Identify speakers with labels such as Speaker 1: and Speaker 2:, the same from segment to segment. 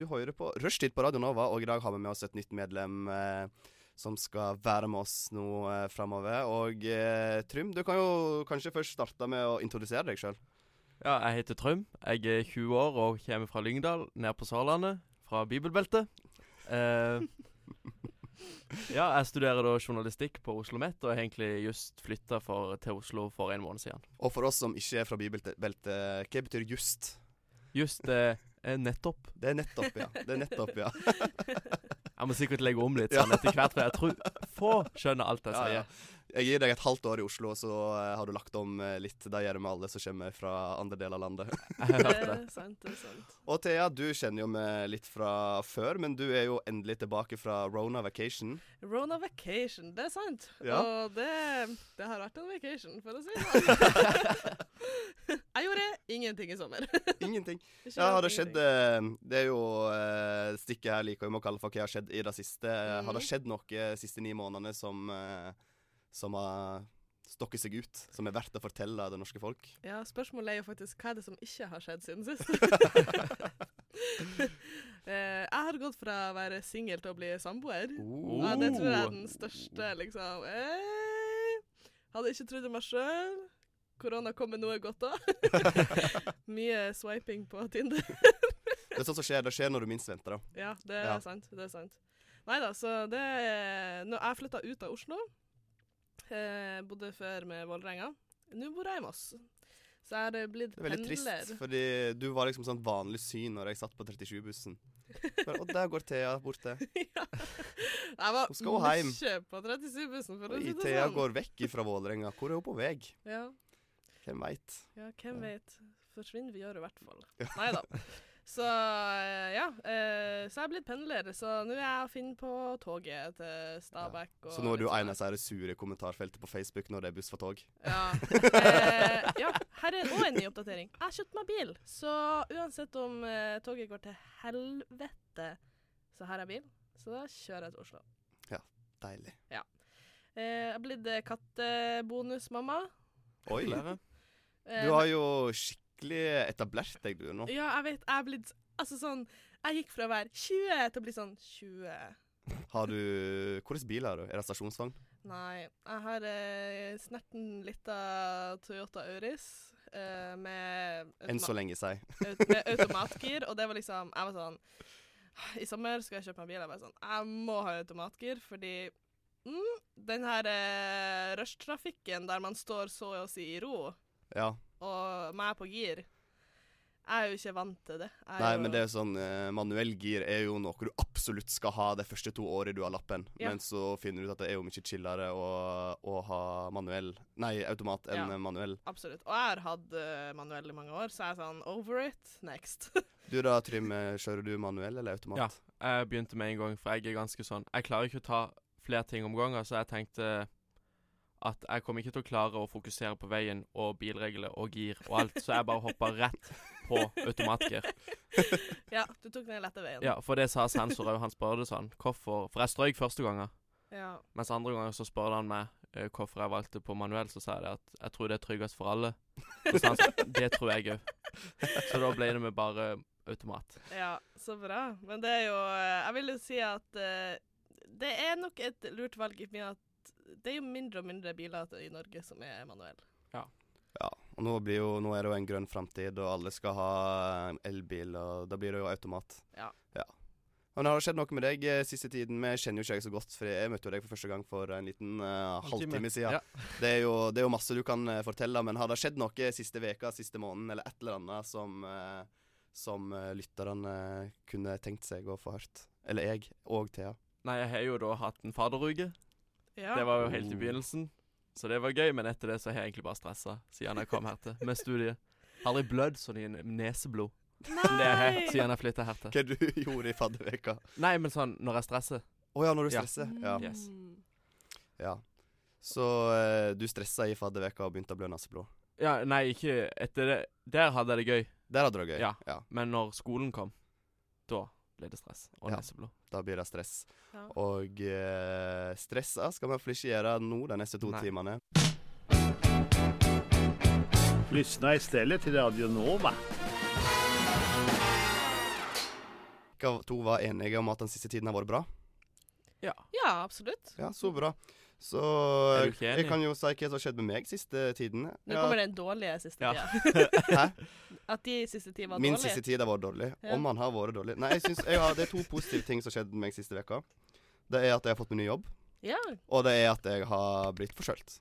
Speaker 1: Du hører på Rushtid på Radio Nova, og i dag har vi med oss et nytt medlem eh, som skal være med oss nå eh, framover. Og eh, Trym, du kan jo kanskje først starte med å introdusere deg sjøl.
Speaker 2: Ja, jeg heter Trym. Jeg er 20 år og kommer fra Lyngdal, ned på Sørlandet, fra bibelbeltet. Eh, ja, jeg studerer da journalistikk på Oslo OsloMet, og har egentlig just flytta til Oslo for en måned siden.
Speaker 1: Og for oss som ikke er fra bibelbeltet, hva betyr just?
Speaker 2: Just eh, eh, nettopp.
Speaker 1: Det er nettopp, ja. Det er nettopp, ja.
Speaker 2: Jeg må sikkert legge om litt sånn etter hvert, for jeg tror få skjønner alt jeg
Speaker 1: Ja,
Speaker 2: sier.
Speaker 1: ja. Jeg gir deg et halvt år i Oslo, så eh, har du lagt om eh, litt. Det gjør vi alle som kommer fra andre deler av landet.
Speaker 2: Jeg
Speaker 3: Det
Speaker 2: hørte det.
Speaker 3: er sant, det er sant.
Speaker 1: Og Thea, du kjenner jo meg litt fra før, men du er jo endelig tilbake fra Rona vacation.
Speaker 3: Rona vacation, det er sant.
Speaker 1: Ja.
Speaker 3: Og det, det har vært en vacation, for å si det sånn. jeg gjorde ingenting i sommer.
Speaker 1: Ingenting.
Speaker 3: Ikke
Speaker 1: Ja, har det
Speaker 3: ingenting.
Speaker 1: skjedd eh, Det er jo eh, stikket her liker jeg med å kalle for hva har skjedd i det siste. Eh, Har det
Speaker 3: Mhm.
Speaker 1: skjedd noe de siste ni månedene som, eh, som har stokket seg ut? Som er verdt å fortelle det norske folk?
Speaker 3: Ja, spørsmålet er jo faktisk hva er det som ikke har skjedd siden sist? Eh, jeg har gått fra å være singel til å bli samboer.
Speaker 1: Oh.
Speaker 3: Ja, det tror jeg er den største, liksom. Eh, hadde ikke trodd det meg sjøl. Korona kom med noe godt òg. Mye swiping på Tinder.
Speaker 1: Det er sånt som skjer. Det skjer når du minst venter det.
Speaker 3: Ja, det er
Speaker 1: Ja.
Speaker 3: sant. Det er sant. Nei da, så det er Når jeg flytta ut av Oslo, eh, bodde før med Vålerenga. Nå bor jeg i Moss. Så jeg har eh, blitt
Speaker 1: Det er veldig trist, fordi du var liksom sånn vanlig syn når jeg satt på 37-bussen. Bare, Og der går Thea borte.
Speaker 3: ja. Jeg var
Speaker 1: Hun skal jo heim.
Speaker 3: mye på 37-bussen, for å
Speaker 1: Oi,
Speaker 3: si det
Speaker 1: Thea
Speaker 3: sånn.
Speaker 1: går vekk ifra Vålerenga. Hvor er hun på vei?
Speaker 3: Ja.
Speaker 1: Hvem veit?
Speaker 3: Ja, hvem vet. Forsvinner vi gjør i hvert fall.
Speaker 1: Ja.
Speaker 3: Nei da. Så eh, ja, eh, så jeg er blitt pendler, så nå er jeg å finne på toget til Stabekk. og
Speaker 1: Så nå er du
Speaker 3: litt sånn
Speaker 1: en av disse her sure kommentarfeltene på Facebook når det er buss for tog.
Speaker 3: Ja. Eh, ja. Her er òg en ny oppdatering. Jeg har kjøpt meg bil, så uansett om eh, toget går til helvete, så har jeg bil. Så da kjører jeg til Oslo.
Speaker 1: Deilig.
Speaker 3: Eh, jeg er blitt eh, kattebonusmamma.
Speaker 1: Oi.
Speaker 2: Gratulerer.
Speaker 3: Eh,
Speaker 1: Du har jo skikkelig etablert deg, du, nå.
Speaker 3: Ja, jeg vet. Jeg er blitt Altså sånn Jeg gikk fra å være 20 til å bli sånn 20.
Speaker 1: Har du Hvilken bil har du? Er det stasjonsvogn?
Speaker 3: Nei. Jeg har eh, snerten lita Toyota Auris eh, med,
Speaker 1: Enn så
Speaker 3: automa-
Speaker 1: lenge, si.
Speaker 3: aut med automatgir, og det var liksom Jeg var sånn I sommer skulle jeg kjøpe meg bil. Jeg var sånn Jeg må ha automatgir, fordi mm, den her eh, rushtrafikken der man står så å si i ro,
Speaker 1: Ja.
Speaker 3: og meg på gir Jeg er jo ikke vant til det. Jeg er
Speaker 1: Nei,
Speaker 3: jo-
Speaker 1: men det er jo sånn eh, Manuell gir er jo noe du absolutt skal ha de første to årene du har lappen.
Speaker 3: Ja.
Speaker 1: Men så finner du ut at det er jo mye chillere å, å ha manuell Nei, automat enn
Speaker 3: Ja.
Speaker 1: eh, manuell.
Speaker 3: Absolutt. Og jeg har hatt eh, manuell i mange år, så jeg er sånn over it, next.
Speaker 1: Du da, Trym, eh, kjører du manuell eller automat?
Speaker 2: Ja. Jeg begynte med en gang, for jeg er ganske sånn Jeg klarer ikke å ta flere ting om gangen, så jeg tenkte at jeg kommer ikke til å klare å fokusere på veien og bilregler og gir og alt, så jeg bare hoppa rett på automatgir.
Speaker 3: ja, du tok den lette veien.
Speaker 2: Ja, for det sa sensor òg. Han spurte sånn hvorfor For jeg strøyk første gangen,
Speaker 3: ja.
Speaker 2: mens andre ganger så spurte han meg eh, hvorfor jeg valgte på manuell, så sa jeg det at jeg tror det er tryggest for alle. Og så sa han sånn, det tror jeg òg. Så da ble det med bare automat.
Speaker 3: Ja, så bra. Men det er jo eh, Jeg vil jo si at eh, det er nok et lurt valg i og med at det er jo mindre og mindre biler i Norge som er manuell.
Speaker 1: Ja, og nå, blir jo, nå er det jo en grønn framtid, og alle skal ha eh, elbil, og da blir det jo automat.
Speaker 3: Ja.
Speaker 1: Men har det skjedd noe med deg eh, siste tiden? Vi kjenner jo ikke deg så godt, for jeg møtte jo deg for første gang for en liten eh, halvtime siden.
Speaker 2: Ja.
Speaker 1: Det, er jo, det er jo masse du kan eh, fortelle, men har det skjedd noe siste veka, siste måneden, eller et eller annet som, eh, som eh, lytterne kunne tenkt seg å få hørt? Eller jeg, og Thea.
Speaker 2: Nei, jeg har jo da hatt en faderuke.
Speaker 3: Ja.
Speaker 2: Det var jo helt i
Speaker 1: Oh.
Speaker 2: begynnelsen, så det var gøy. Men etter det så har jeg egentlig bare stressa siden jeg kom her til med studiet. Aldri blødd sånn i n- neseblod som det jeg har siden jeg flytta her til.
Speaker 1: Hva du gjorde i fadderveka?
Speaker 2: Nei, men sånn når jeg stresser.
Speaker 1: Å ja, når du
Speaker 2: Ja.
Speaker 1: stresser. Ja.
Speaker 3: Mm.
Speaker 2: Yes.
Speaker 1: ja. Så eh, du stressa i fadderveka og begynte å blø naseblod?
Speaker 2: Ja, nei, ikke etter det. Der hadde jeg det gøy,
Speaker 1: Der hadde du det gøy.
Speaker 2: Ja. men når skolen kom, da ble det stress og
Speaker 1: Ja.
Speaker 2: neseblod.
Speaker 1: Da blir det stress.
Speaker 3: Ja.
Speaker 1: Og eh, stressa skal vi iallfall ikke gjøre nå de neste to
Speaker 2: Nei.
Speaker 1: timene.
Speaker 4: Lyssna istället till Radio Nova.
Speaker 1: dere to var enige om at den siste tiden har vært bra?
Speaker 3: Ja, absolutt.
Speaker 1: Ja, så bra. Så eh,
Speaker 2: Er du
Speaker 1: jeg,
Speaker 2: ikke enig?
Speaker 1: kan jo si hva som har skjedd med meg siste tiden.
Speaker 3: Nå
Speaker 1: Ja,
Speaker 3: kommer den dårlige siste
Speaker 2: Ja.
Speaker 3: tida.
Speaker 1: Hæ?
Speaker 3: At de siste tida var
Speaker 1: Min
Speaker 3: dårlige.
Speaker 1: siste tid har vært dårlig.
Speaker 3: Ja.
Speaker 1: Om han har vært dårlig. Nei, jeg synes, jeg har, Det er to positive ting som har skjedd med meg siste veka Det er at jeg har fått meg ny jobb,
Speaker 3: Ja.
Speaker 1: og det er at jeg har blitt forkjølt.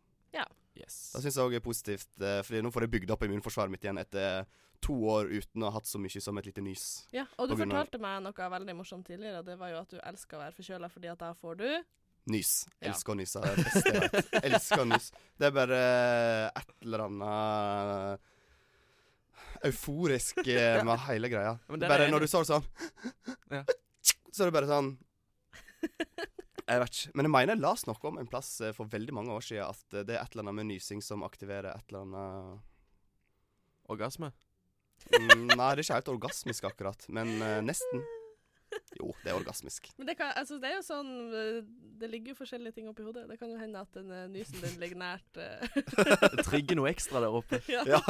Speaker 2: Yes.
Speaker 1: Det syns jeg òg er positivt, eh, Fordi nå får jeg bygd opp immunforsvaret mitt igjen etter to år uten å ha hatt så mye som et lite nys.
Speaker 3: ja. Og du
Speaker 1: På grunn av-
Speaker 3: fortalte meg noe veldig morsomt tidligere, og det var jo at du elsker å være forkjøla fordi at da får du
Speaker 1: Nys.
Speaker 3: Ja.
Speaker 1: Elsker å nyse. Det er det beste jeg vet. Elsker å nyse. Det er bare et eller annet euforisk eh, med hele greia.
Speaker 2: Men der er
Speaker 1: Bare
Speaker 2: jeg
Speaker 1: når
Speaker 2: enig.
Speaker 1: du så det sånn
Speaker 2: Ja.
Speaker 1: Så er det bare sånn Jeg vet ikke. Men jeg mener jeg las noe om en plass eh, for veldig mange år siden at eh, det er et eller annet med nysing som aktiverer et eller annet
Speaker 2: Orgasme.
Speaker 1: Mm, Nei, det er ikke helt orgasmisk akkurat, men eh, nesten. Jo, det er orgasmisk.
Speaker 3: Men det, kan, altså, det er jo sånn eh, Det ligger jo forskjellige ting oppi hodet. Det kan jo hende at den eh, nysen din ligger nært eh,
Speaker 2: Det trigger noe ekstra der oppe.
Speaker 3: ja.
Speaker 1: Ja.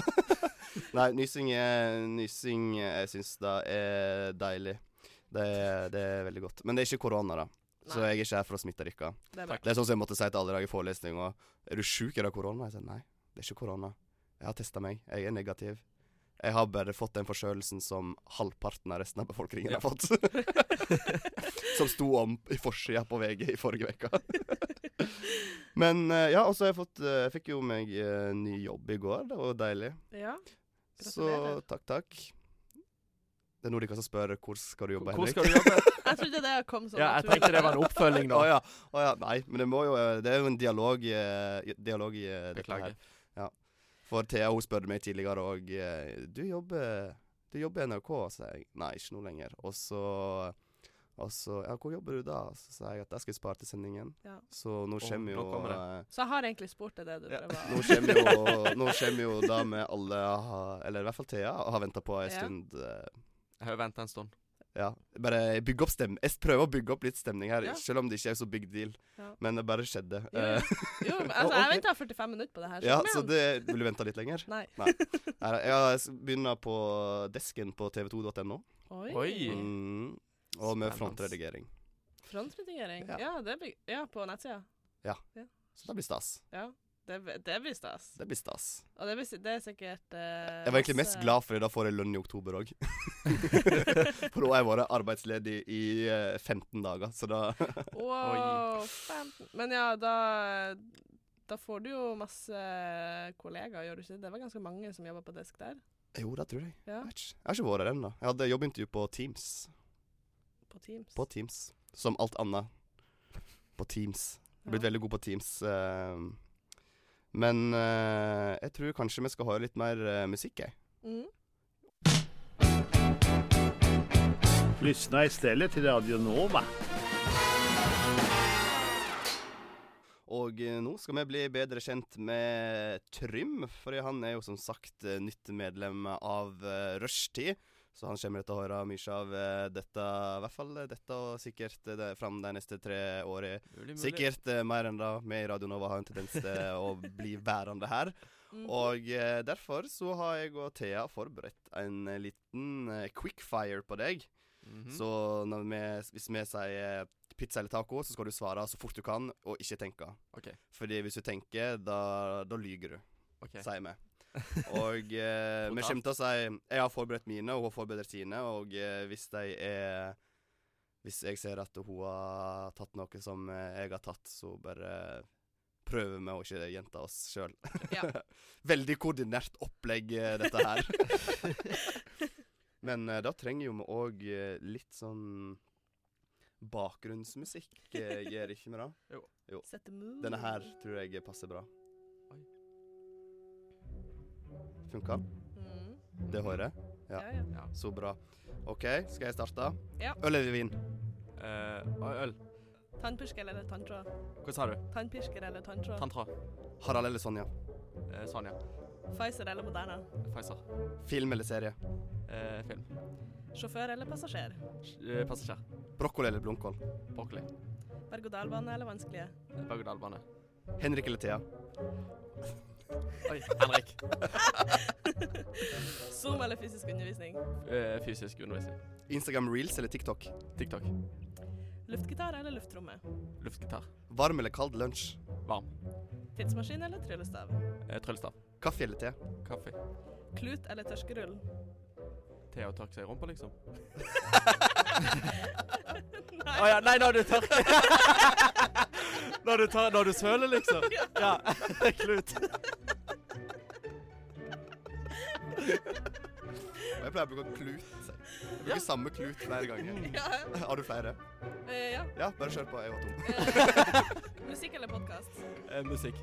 Speaker 1: Nei, nysing, er- nysing eh, jeg syns det er deilig. Det er, det er veldig godt. Men det er ikke korona, da. Så
Speaker 3: Nei,
Speaker 1: jeg er ikke her for å smitte dere.
Speaker 3: det er bra.
Speaker 1: Det er sånn som jeg måtte si til alle i dag i forelesning òg. Er du sjuk, er det korona? Jeg sier nei, det er ikke korona. Jeg har testa meg, jeg er negativ. Jeg har bare fått den forkjølelsen som halvparten av resten av befolkningen har fått. som sto om i forsida på VG i forrige uke. Men eh, ja, og så har jeg fått eh, Jeg fikk jo meg eh, ny jobb i går, det var jo deilig.
Speaker 3: Ja.
Speaker 1: Så
Speaker 3: Gratulerer.
Speaker 1: takk, takk. Det er nå de kan spørre hvor skal du jobbe,
Speaker 2: Hvor
Speaker 1: Henrik?
Speaker 2: skal du jobbe?
Speaker 3: Jeg trodde det kom sånn
Speaker 2: Ja, jeg tenkte det var en oppfølging,
Speaker 1: Å
Speaker 2: da.
Speaker 1: ja. å ja. Nei, men det, må jo, det er jo en dialog, eh, dialog i eh, dette
Speaker 2: Beklager.
Speaker 1: her. For Thea hun spurte meg tidligere òg du, jobber- du jobber i NRK, sa jeg. Nei, ikke nå lenger. Og så, og så Ja, hvor jobber du da? Så sa jeg at jeg skal spare til sendingen.
Speaker 3: Ja.
Speaker 1: Så nå
Speaker 2: Å,
Speaker 1: kommer
Speaker 2: nå
Speaker 1: jo
Speaker 2: kommer
Speaker 1: eh,
Speaker 3: Så jeg har egentlig spurt deg det du
Speaker 2: Ja.
Speaker 3: prøver
Speaker 1: Nå kommer jo, nå kommer jo da vi alle, har- eller i hvert fall Thea, har venta på ei
Speaker 3: Ja.
Speaker 1: stund. eh,
Speaker 2: Jeg har jo venta en stund.
Speaker 1: Ja. Bare bygge opp stem Jeg prøver å bygge opp litt stemning her,
Speaker 2: Ja.
Speaker 1: selv om det ikke er så big deal.
Speaker 3: Ja.
Speaker 1: Men det bare skjedde.
Speaker 3: Jo, jo.
Speaker 1: Eh,
Speaker 3: Jo, men altså,
Speaker 1: Ja,
Speaker 3: jeg
Speaker 1: ok.
Speaker 3: venta 45 minutter på det her.
Speaker 1: Ja,
Speaker 3: kom
Speaker 1: så
Speaker 3: igjen.
Speaker 1: det Vil du vente litt lenger?
Speaker 3: Nei.
Speaker 1: Nei, nei, jeg s- begynner på desken på tv2.no.
Speaker 3: Oi.
Speaker 2: Oi.
Speaker 1: Mm, og med
Speaker 2: Spennende.
Speaker 1: frontredigering.
Speaker 3: Frontredigering.
Speaker 1: Ja.
Speaker 3: Ja. det blir, ja, på nettsida.
Speaker 1: Så det blir stas.
Speaker 3: Ja. Det, blir- det blir stas.
Speaker 1: Det blir stas.
Speaker 3: Og det, blir, si- det er sikkert eh,
Speaker 1: Jeg var egentlig mest
Speaker 3: masse-
Speaker 1: glad for det. Da får jeg lønn i oktober òg. for nå har jeg vært arbeidsledig i eh, 15 dager, så da
Speaker 3: Wow, 15. Men ja, da, da får du jo masse kollegaer, gjør du ikke det? Det var ganske mange som jobba på desk der.
Speaker 1: Jo, det tror jeg.
Speaker 3: Ja,
Speaker 1: Jeg, vet ikke. jeg har ikke vært der ennå. Jeg hadde jobbintervju på Teams.
Speaker 3: På Teams.
Speaker 1: På Teams. Som alt annet. På Teams. Jeg har blitt
Speaker 3: Ja.
Speaker 1: veldig god på Teams. eh, men eh, jeg tror kanskje vi skal høre litt mer eh, musikk, jeg.
Speaker 3: Mm.
Speaker 4: Lyssna istället till Radio Nova.
Speaker 1: Og eh, nå skal vi bli bedre kjent med Trym, for han er jo som sagt eh, nytt medlem av uh, Rushtid. Så han kommer til å høre mye av eh, dette, i hvert fall eh, dette og sikkert eh, det, fram de neste tre årene.
Speaker 2: Mulig, mulig.
Speaker 1: Sikkert eh, mer enn det. Vi i Radio Nova har en tendens til å bli værende her.
Speaker 3: Mhm.
Speaker 1: Og eh, derfor så har jeg og Thea forberedt en eh, liten eh, quickfire på deg.
Speaker 2: Mhm.
Speaker 1: Så når vi, hvis vi sier pizza eller taco, så skal du svare så fort du kan, og ikke tenke.
Speaker 2: Ok.
Speaker 1: Fordi hvis du tenker, da, da lyger du,
Speaker 2: Ok.
Speaker 1: sier vi. Og eh, vi kommer til å si Jeg har forberedt mine, og hun har forberedt sine, og eh, hvis de er Hvis jeg ser at hun har tatt noe som eh, jeg har tatt, så bare prøver vi å ikke gjenta oss sjøl.
Speaker 3: Ja.
Speaker 1: Veldig koordinert opplegg, eh, dette her. Men eh, da trenger jo vi òg eh, litt sånn bakgrunnsmusikk, eh, gjør ikke vi det?
Speaker 3: Set the mood.
Speaker 1: Denne her tror jeg passer bra.
Speaker 2: Oi.
Speaker 1: Funka?
Speaker 3: Mm.
Speaker 1: Det håret? Ja.
Speaker 3: Ja. ja,
Speaker 1: Så bra. OK, skal jeg starte?
Speaker 3: Ja.
Speaker 1: Øl eller vin?
Speaker 2: Eh, oi, øl.
Speaker 3: Tannpirker eller tanntråd?
Speaker 2: Hva sa du?
Speaker 3: Tannpirker eller tanntråd?
Speaker 2: Tantra.
Speaker 1: Harald eller Sonja?
Speaker 2: Eh, Sonja.
Speaker 3: Pfizer eller Moderna?
Speaker 2: Pfizer.
Speaker 1: Film eller serie?
Speaker 2: Eh, film.
Speaker 3: Sjåfør eller passasjer?
Speaker 2: Eh, Passasjer.
Speaker 1: Brokkoli eller blomkål?
Speaker 2: Broccoli.
Speaker 3: Berg-og-dal-bane eller vanskelige?
Speaker 2: Berg-og-dal-bane.
Speaker 1: Henrik eller Thea?
Speaker 2: Oi, Henrik.
Speaker 3: Zoom eller fysisk undervisning?
Speaker 2: Eh, Fysisk undervisning.
Speaker 1: Instagram reels eller TikTok?
Speaker 2: TikTok.
Speaker 3: Luftgitar eller lufttromme?
Speaker 2: Luftgitar.
Speaker 1: Varm eller kald lunsj?
Speaker 2: Varm.
Speaker 3: Tidsmaskin eller tryllestav?
Speaker 2: Eh, Tryllestav.
Speaker 1: Kaffe eller te?
Speaker 2: Kaffe.
Speaker 3: Klut eller tørskerull?
Speaker 2: Te og tørke seg i rumpa, liksom.
Speaker 3: Nei.
Speaker 2: Å ja, nei, når du tørker Når du, tar, når du søler, liksom. Ja. Klut.
Speaker 1: Og Jeg pleier å bruke klut. Jeg bruker samme klut flere ganger.
Speaker 3: Ja,
Speaker 1: Har du flere?
Speaker 3: eh, ja.
Speaker 1: Ja, bare kjør på. Jeg var tom.
Speaker 3: Eh, Musikk eller podkast?
Speaker 2: Eh, musikk.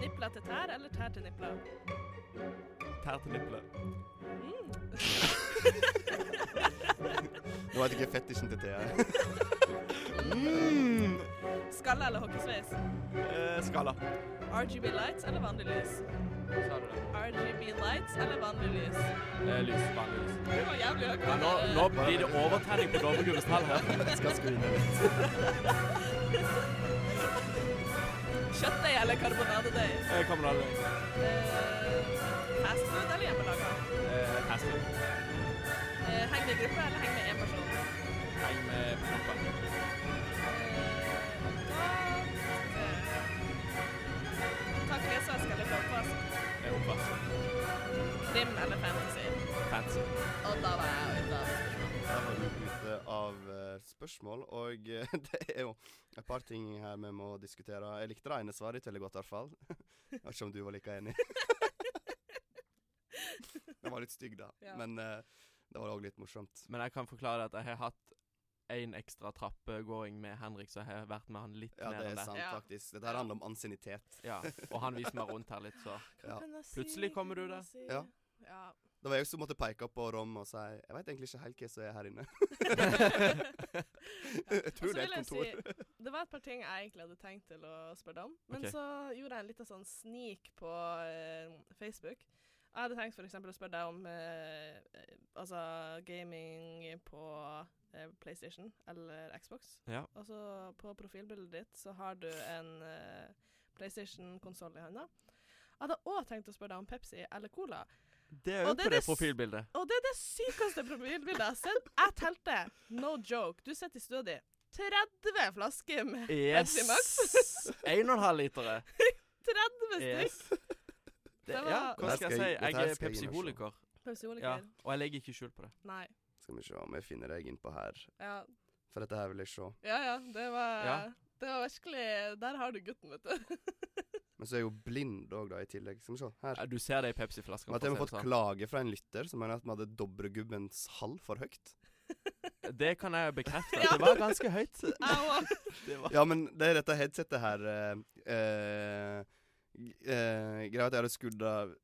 Speaker 3: Nipla til tær eller tær til nipla?
Speaker 2: Tær til nipple.
Speaker 3: Mm.
Speaker 1: Nå vet jeg ikke fetisjen til Thea.
Speaker 2: Mm.
Speaker 3: Skalle eller hockeysveis?
Speaker 2: Eh, skala.
Speaker 3: RGB lights eller vanlig lys?
Speaker 2: Sa du det?
Speaker 3: RGB lights eller vanlig lys?
Speaker 2: Eh, lys. Vanlig lys.
Speaker 3: Det var jævlig høyt.
Speaker 2: Ja, nå, nå blir det overtenning på Dovregubbens tall her.
Speaker 1: Jeg skal skrive litt.
Speaker 3: Kjøttdeig eller karbonadedeig?
Speaker 2: Eh, Kommer det alle
Speaker 3: Eh, fast food eller hjemmelaga?
Speaker 2: eh, hester?
Speaker 3: Eh, heng med gruppe eller heng med én person?
Speaker 2: Heng med plopper.
Speaker 3: Ta klesvask eller toppvask?
Speaker 2: Eh, oppvask.
Speaker 3: Krim eller fantasy?
Speaker 2: Fancy.
Speaker 3: Og da var jeg ute av
Speaker 1: Da var vi ute av eh, spørsmål, og eh, det er jo et par ting her vi må diskutere. Jeg likte det ene svaret ditt veldig godt, i hvert fall. Jeg vet ikke om du var like enig. Den var litt stygg, da,
Speaker 3: Ja.
Speaker 1: men eh, det var òg litt morsomt.
Speaker 2: Men jeg kan forklare at jeg har hatt en ekstra trappegåing med Henrik, så jeg har vært med han litt
Speaker 1: Ja,
Speaker 2: ned
Speaker 1: det
Speaker 2: enn
Speaker 1: er
Speaker 2: det.
Speaker 1: sant,
Speaker 3: Ja.
Speaker 1: faktisk. Dette her handler om ansiennitet.
Speaker 2: Ja, og han viser meg rundt her litt, så
Speaker 1: Ja.
Speaker 2: Plutselig kommer du der.
Speaker 1: Ja.
Speaker 3: ja.
Speaker 1: Det var jeg som måtte peke opp på Rom og si Jeg veit egentlig ikke helt hva som er her inne. jeg tror
Speaker 3: Og så
Speaker 1: det er
Speaker 3: vil
Speaker 1: et
Speaker 3: jeg
Speaker 1: kontor.
Speaker 3: Si, det var et par ting jeg egentlig hadde tenkt til å spørre om, men
Speaker 2: Ok.
Speaker 3: så gjorde jeg en liten sånn sneak på eh, Facebook. Jeg hadde tenkt for eksempel å spørre deg om eh, eh, altså gaming på eh, PlayStation eller Xbox.
Speaker 2: Ja.
Speaker 3: Og så på profilbildet ditt så har du en eh, PlayStation-konsoll i hånda. Jeg hadde òg tenkt å spørre deg om Pepsi eller Cola.
Speaker 2: Det er
Speaker 3: Og
Speaker 2: jo
Speaker 3: det
Speaker 2: på
Speaker 3: er
Speaker 2: det
Speaker 3: det s-
Speaker 2: profilbildet.
Speaker 3: Og det er det sykeste profilbildet jeg har sett. Jeg telte, no joke, du sitter i stua di, 30 flasker med
Speaker 2: Yes!
Speaker 3: Pepsi Max.
Speaker 2: 1,5 litere.
Speaker 3: 30 stykk!
Speaker 2: Yes. Det,
Speaker 3: Det var-
Speaker 2: ja, hva
Speaker 1: Dette
Speaker 2: skal
Speaker 1: skal
Speaker 2: jeg si?
Speaker 1: jeg- dette
Speaker 2: Jeg
Speaker 1: her skal jeg inn
Speaker 2: er
Speaker 1: og se.
Speaker 2: Pepsi-holiker. Ja,
Speaker 3: Pepsi-oliker?
Speaker 2: og jeg legger ikke skjul på det.
Speaker 3: Nei.
Speaker 1: Skal vi se om jeg finner deg innpå her.
Speaker 3: Ja.
Speaker 1: For dette her vil jeg se.
Speaker 3: ja ja, det var
Speaker 2: Ja.
Speaker 3: Det var virkelig Der har du gutten, vet du.
Speaker 1: Men så er jeg jo blind òg, da, i tillegg. Skal vi se. Her.
Speaker 2: Ja, Du ser det i
Speaker 1: Men
Speaker 2: Pepsi-flaskene.
Speaker 1: at jeg har
Speaker 2: for å
Speaker 1: fått
Speaker 2: si det sånn.
Speaker 1: klage fra en lytter som mener at vi hadde Dobregubbens hall for høyt.
Speaker 2: Det kan jeg bekrefte.
Speaker 3: Ja.
Speaker 2: Det var ganske høyt.
Speaker 3: Au!
Speaker 2: Det var.
Speaker 1: Ja, men det er dette headsetet her eh, eh, g- eh, Greia er at jeg hadde skrudd av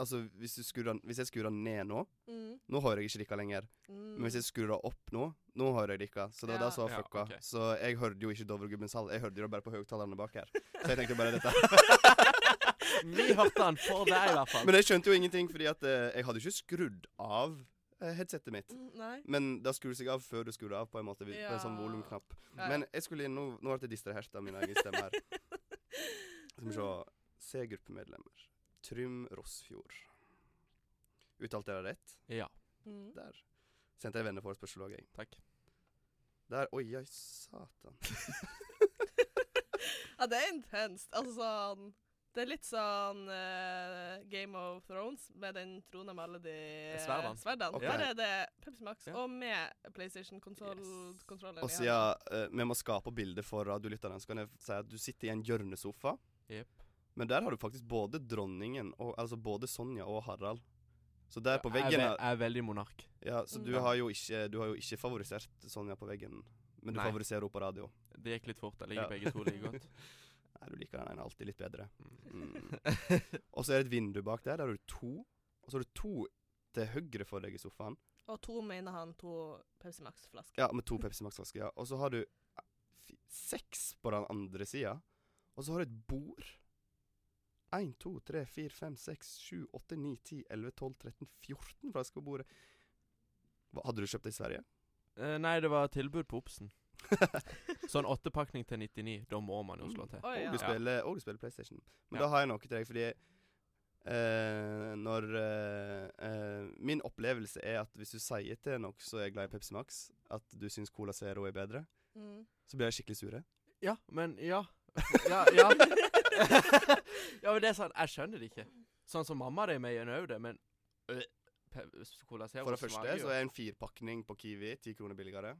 Speaker 1: Altså, hvis, du skrur den- hvis jeg skrur den ned nå
Speaker 3: Mm.
Speaker 1: Nå hører jeg ikke dere lenger. Men hvis jeg skrur den opp nå Nå hører jeg dere. Så det var
Speaker 3: Ja.
Speaker 1: det som var
Speaker 2: Ja,
Speaker 1: fucka.
Speaker 2: ok.
Speaker 1: Så jeg hørte jo ikke Dovregubbens hall. Jeg hørte jo det bare på høyttalerne bak her. Så jeg tenkte bare dette.
Speaker 2: Vi hørte han for deg, i hvert fall.
Speaker 1: Men jeg skjønte jo ingenting, fordi at eh, jeg hadde ikke skrudd av eh, headsetet mitt.
Speaker 3: Mm, Nei.
Speaker 1: Men det skrur seg av før du skrur av, på en måte. vid- På en sånn
Speaker 3: Ja.
Speaker 1: volumknapp.
Speaker 3: Ja, ja.
Speaker 1: Men jeg skulle inn, nå, nå ble jeg distrahert av min egen stemme her. Skal vi se. C-gruppemedlemmer. Trym Rossfjord. Uttalte jeg det rett?
Speaker 2: Ja,
Speaker 3: Mm.
Speaker 1: Der. Sendte jeg venneforespørsel òg, jeg.
Speaker 2: takk.
Speaker 1: Der. Oi, oi, satan.
Speaker 3: Ja, det er intenst. Altså sånn Det er litt sånn eh, Game of Thrones med den trona med alle de
Speaker 2: Eh, Sverdene.
Speaker 3: sverdene.
Speaker 1: Ok.
Speaker 3: Der er det Pepsi Max,
Speaker 2: Ja.
Speaker 3: og med PlayStation-kontrolleren.
Speaker 1: Og siden eh, vi må skape bilder for radiolytterne, så kan jeg si at du sitter i en hjørnesofa.
Speaker 2: Jep.
Speaker 1: Men der har du faktisk både dronningen, og, altså både Sonja og Harald. Så der på
Speaker 2: Jeg
Speaker 1: veggen
Speaker 2: er,
Speaker 1: er-
Speaker 2: ve- jeg er veldig monark.
Speaker 1: Ja, så du
Speaker 3: Mm.
Speaker 1: har jo ikke, du har jo ikke favorisert Sonja på veggen, men du
Speaker 2: Nei.
Speaker 1: favoriserer henne på radio.
Speaker 2: Det gikk litt fort. Jeg
Speaker 1: Ja.
Speaker 2: liker begge to like godt.
Speaker 1: Nei, du liker den ene alltid litt bedre.
Speaker 2: Mm.
Speaker 1: Mm. Og så er det et vindu bak der. Der har du to. Og så har du to til høyre for deg i sofaen.
Speaker 3: Og to mener han to Pepsi Max-flasker.
Speaker 1: Ja, med to Pepsi Max-flasker. Ja. Og så har du eh, fi- seks på den andre sida. Og så har du et bord. 1, 2, 3, 4, 5, 6, 7, 8, 9, 10, 11, 12, 13, 14 flasker på bordet. Hva, hadde du kjøpt det i Sverige?
Speaker 2: Eh, Nei, det var tilbud på Obsen. Sånn åttepakning til 99, da må man jo slå til.
Speaker 3: Oi,
Speaker 1: Og
Speaker 3: ja.
Speaker 1: du
Speaker 2: Ja.
Speaker 1: spiller, og du spiller PlayStation. Men
Speaker 2: Ja.
Speaker 1: da har jeg noe til deg, fordi Eh, når eh, eh, Min opplevelse er at hvis du sier til noen som er glad i Pepsi Max, at du syns Cola Zero er bedre,
Speaker 3: Mm.
Speaker 1: så blir de skikkelig sure.
Speaker 2: Ja, men ja. Ja, ja. ja, men det er sånn Jeg skjønner det ikke. Sånn som mamma di med gjør det, men øh, pe- Cola Zero
Speaker 1: For det første
Speaker 2: smaker jo-
Speaker 1: så er en firpakning på Kiwi ti kroner billigere,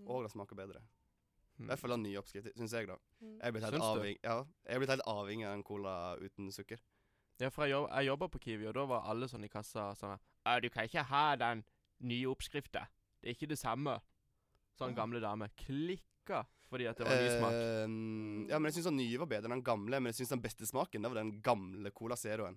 Speaker 2: Mm.
Speaker 1: og det smaker bedre.
Speaker 2: Hmm.
Speaker 1: I hvert fall av nye oppskrifter, syns jeg, da.
Speaker 3: Mm.
Speaker 1: Jeg er blitt helt
Speaker 2: Syns du?
Speaker 1: avhengig ja, jeg er blitt helt avhengig av en cola uten sukker.
Speaker 2: Ja, for jeg, jobb, jeg jobba på Kiwi, og da var alle sånn i kassa sånn «Æ, Du kan ikke ha den nye oppskrifta. Det er ikke det samme. Sånn
Speaker 1: Ah.
Speaker 2: gamle dame klikka fordi at det var ny smak.
Speaker 1: Eh, ja, men jeg syns den nye var bedre enn den gamle, men jeg syns den beste smaken det var den gamle Cola Zeroen.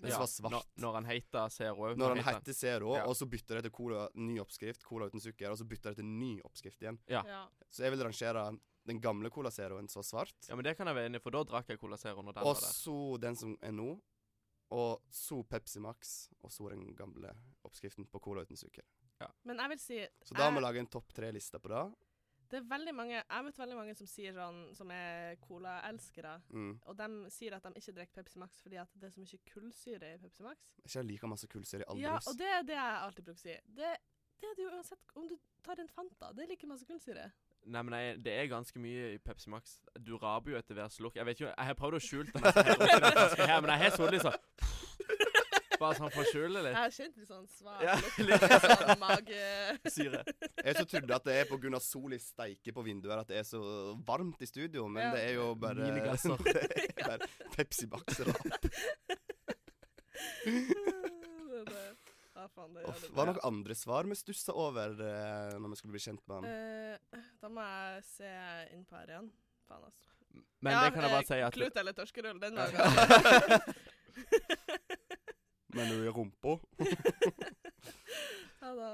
Speaker 1: Den som var svart.
Speaker 2: Når, når han heita Zero.
Speaker 1: Når den heter Zero,
Speaker 2: Ja.
Speaker 1: og så bytter de til cola, ny oppskrift, cola uten sukker, og så bytter de til ny oppskrift igjen.
Speaker 2: Ja.
Speaker 3: Ja.
Speaker 1: Så jeg vil rangere den gamle Cola Zeroen som var svart,
Speaker 2: Ja, men det kan jeg være enig i, for da drakk jeg Cola Zero når den
Speaker 1: og
Speaker 2: var der.
Speaker 1: så den som er nå, og så Pepsi Max, og så den gamle oppskriften på cola uten sukker.
Speaker 3: Men jeg vil si
Speaker 1: Så da
Speaker 3: jeg-
Speaker 1: må vi lage en topp tre-liste på det.
Speaker 3: det er veldig mange, Jeg vet veldig mange som sier sånn, som er colaelskere,
Speaker 1: Mm.
Speaker 3: og de sier at de ikke drikker Pepsi Max fordi at det er så mye kullsyre i Pepsi Max.
Speaker 1: Ikke jeg liker masse kullsyre i all
Speaker 3: Ja,
Speaker 1: brus.
Speaker 3: og det er det jeg alltid bruker å si. Det, det er det jo uansett om du tar en Fanta. Det er like masse kullsyre.
Speaker 2: Nei, men jeg, det er ganske mye i Pepsi Max. Du raper jo etter hver slurk. Jeg vet ikke, jeg har prøvd å skjule den, her oppi den flasken her, men jeg har sittet litt sånn Bare sånn for å skjule
Speaker 3: Jeg
Speaker 2: litt.
Speaker 3: har kjent litt sånn svak
Speaker 2: Ja,
Speaker 3: lukt, litt sånn mage...
Speaker 2: Syre.
Speaker 1: Jeg så trodde at det er pga. sola steiker på vinduet at det er så varmt i studio, men
Speaker 3: Ja.
Speaker 1: det er jo bare
Speaker 2: Minigasser.
Speaker 1: det er bare Pepsi-bakser. da.
Speaker 3: Det- det- Ja, faen, det gjør
Speaker 1: Uff,
Speaker 3: det.
Speaker 1: Var det noen andre svar vi stussa over eh, når vi skulle bli kjent med han?
Speaker 3: Eh, da må jeg se inn på her igjen. Faen, altså.
Speaker 2: Men det kan jeg bare si at
Speaker 3: Klut eller torskerull, den var jo
Speaker 1: Men du er rumpa?
Speaker 3: Ja, da.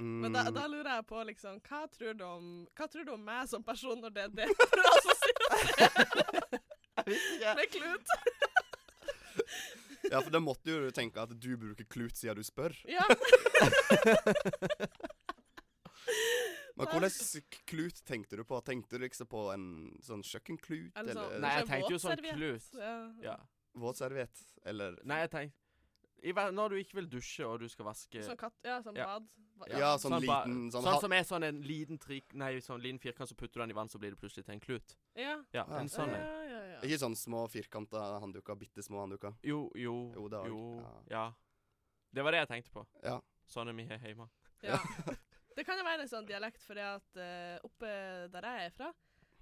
Speaker 1: Mm,
Speaker 3: Men da, da lurer jeg på liksom, hva tror, du om, hva tror du om meg som person når det er det du assosierer med klut?
Speaker 1: Ja, for da måtte jo du tenke at du bruker klut siden du spør.
Speaker 3: Ja,
Speaker 1: Men hvordan k- klut tenkte du på? Tenkte du liksom på en sånn kjøkkenklut?
Speaker 3: Eller
Speaker 1: Eller, eh,
Speaker 3: sånn-
Speaker 2: Nei, jeg
Speaker 3: Kanskje
Speaker 2: tenkte jo sånn
Speaker 3: våtserviett.
Speaker 2: klut.
Speaker 3: ja.
Speaker 2: Ja.
Speaker 1: våtserviett? Eller
Speaker 2: Nei, jeg tenkte i hver- Når du ikke vil dusje, og du skal vaske
Speaker 3: Sånn katt, ja, sånn
Speaker 2: Ja.
Speaker 3: bad.
Speaker 1: Ja, sånn
Speaker 2: ba-
Speaker 1: liten- sånn
Speaker 2: Sånn,
Speaker 1: ha-
Speaker 2: som er sånn en liten trik... Nei, sånn liten firkant, så putter du den i vann, så blir det plutselig til en klut.
Speaker 3: Ja.
Speaker 2: Ja,
Speaker 1: Ah.
Speaker 2: en sånn en.
Speaker 3: Ja, ja, ja.
Speaker 1: Ikke sånn små firkanta handduker? Bitte små handduker?
Speaker 2: Jo, jo,
Speaker 1: Jo, det er
Speaker 2: jo
Speaker 1: også-
Speaker 2: Ja. Det var det jeg tenkte på.
Speaker 1: Ja.
Speaker 2: Sånn er vi her hjemme.
Speaker 3: Ja. Det kan jo være en sånn dialekt, fordi at eh, oppe der jeg er fra,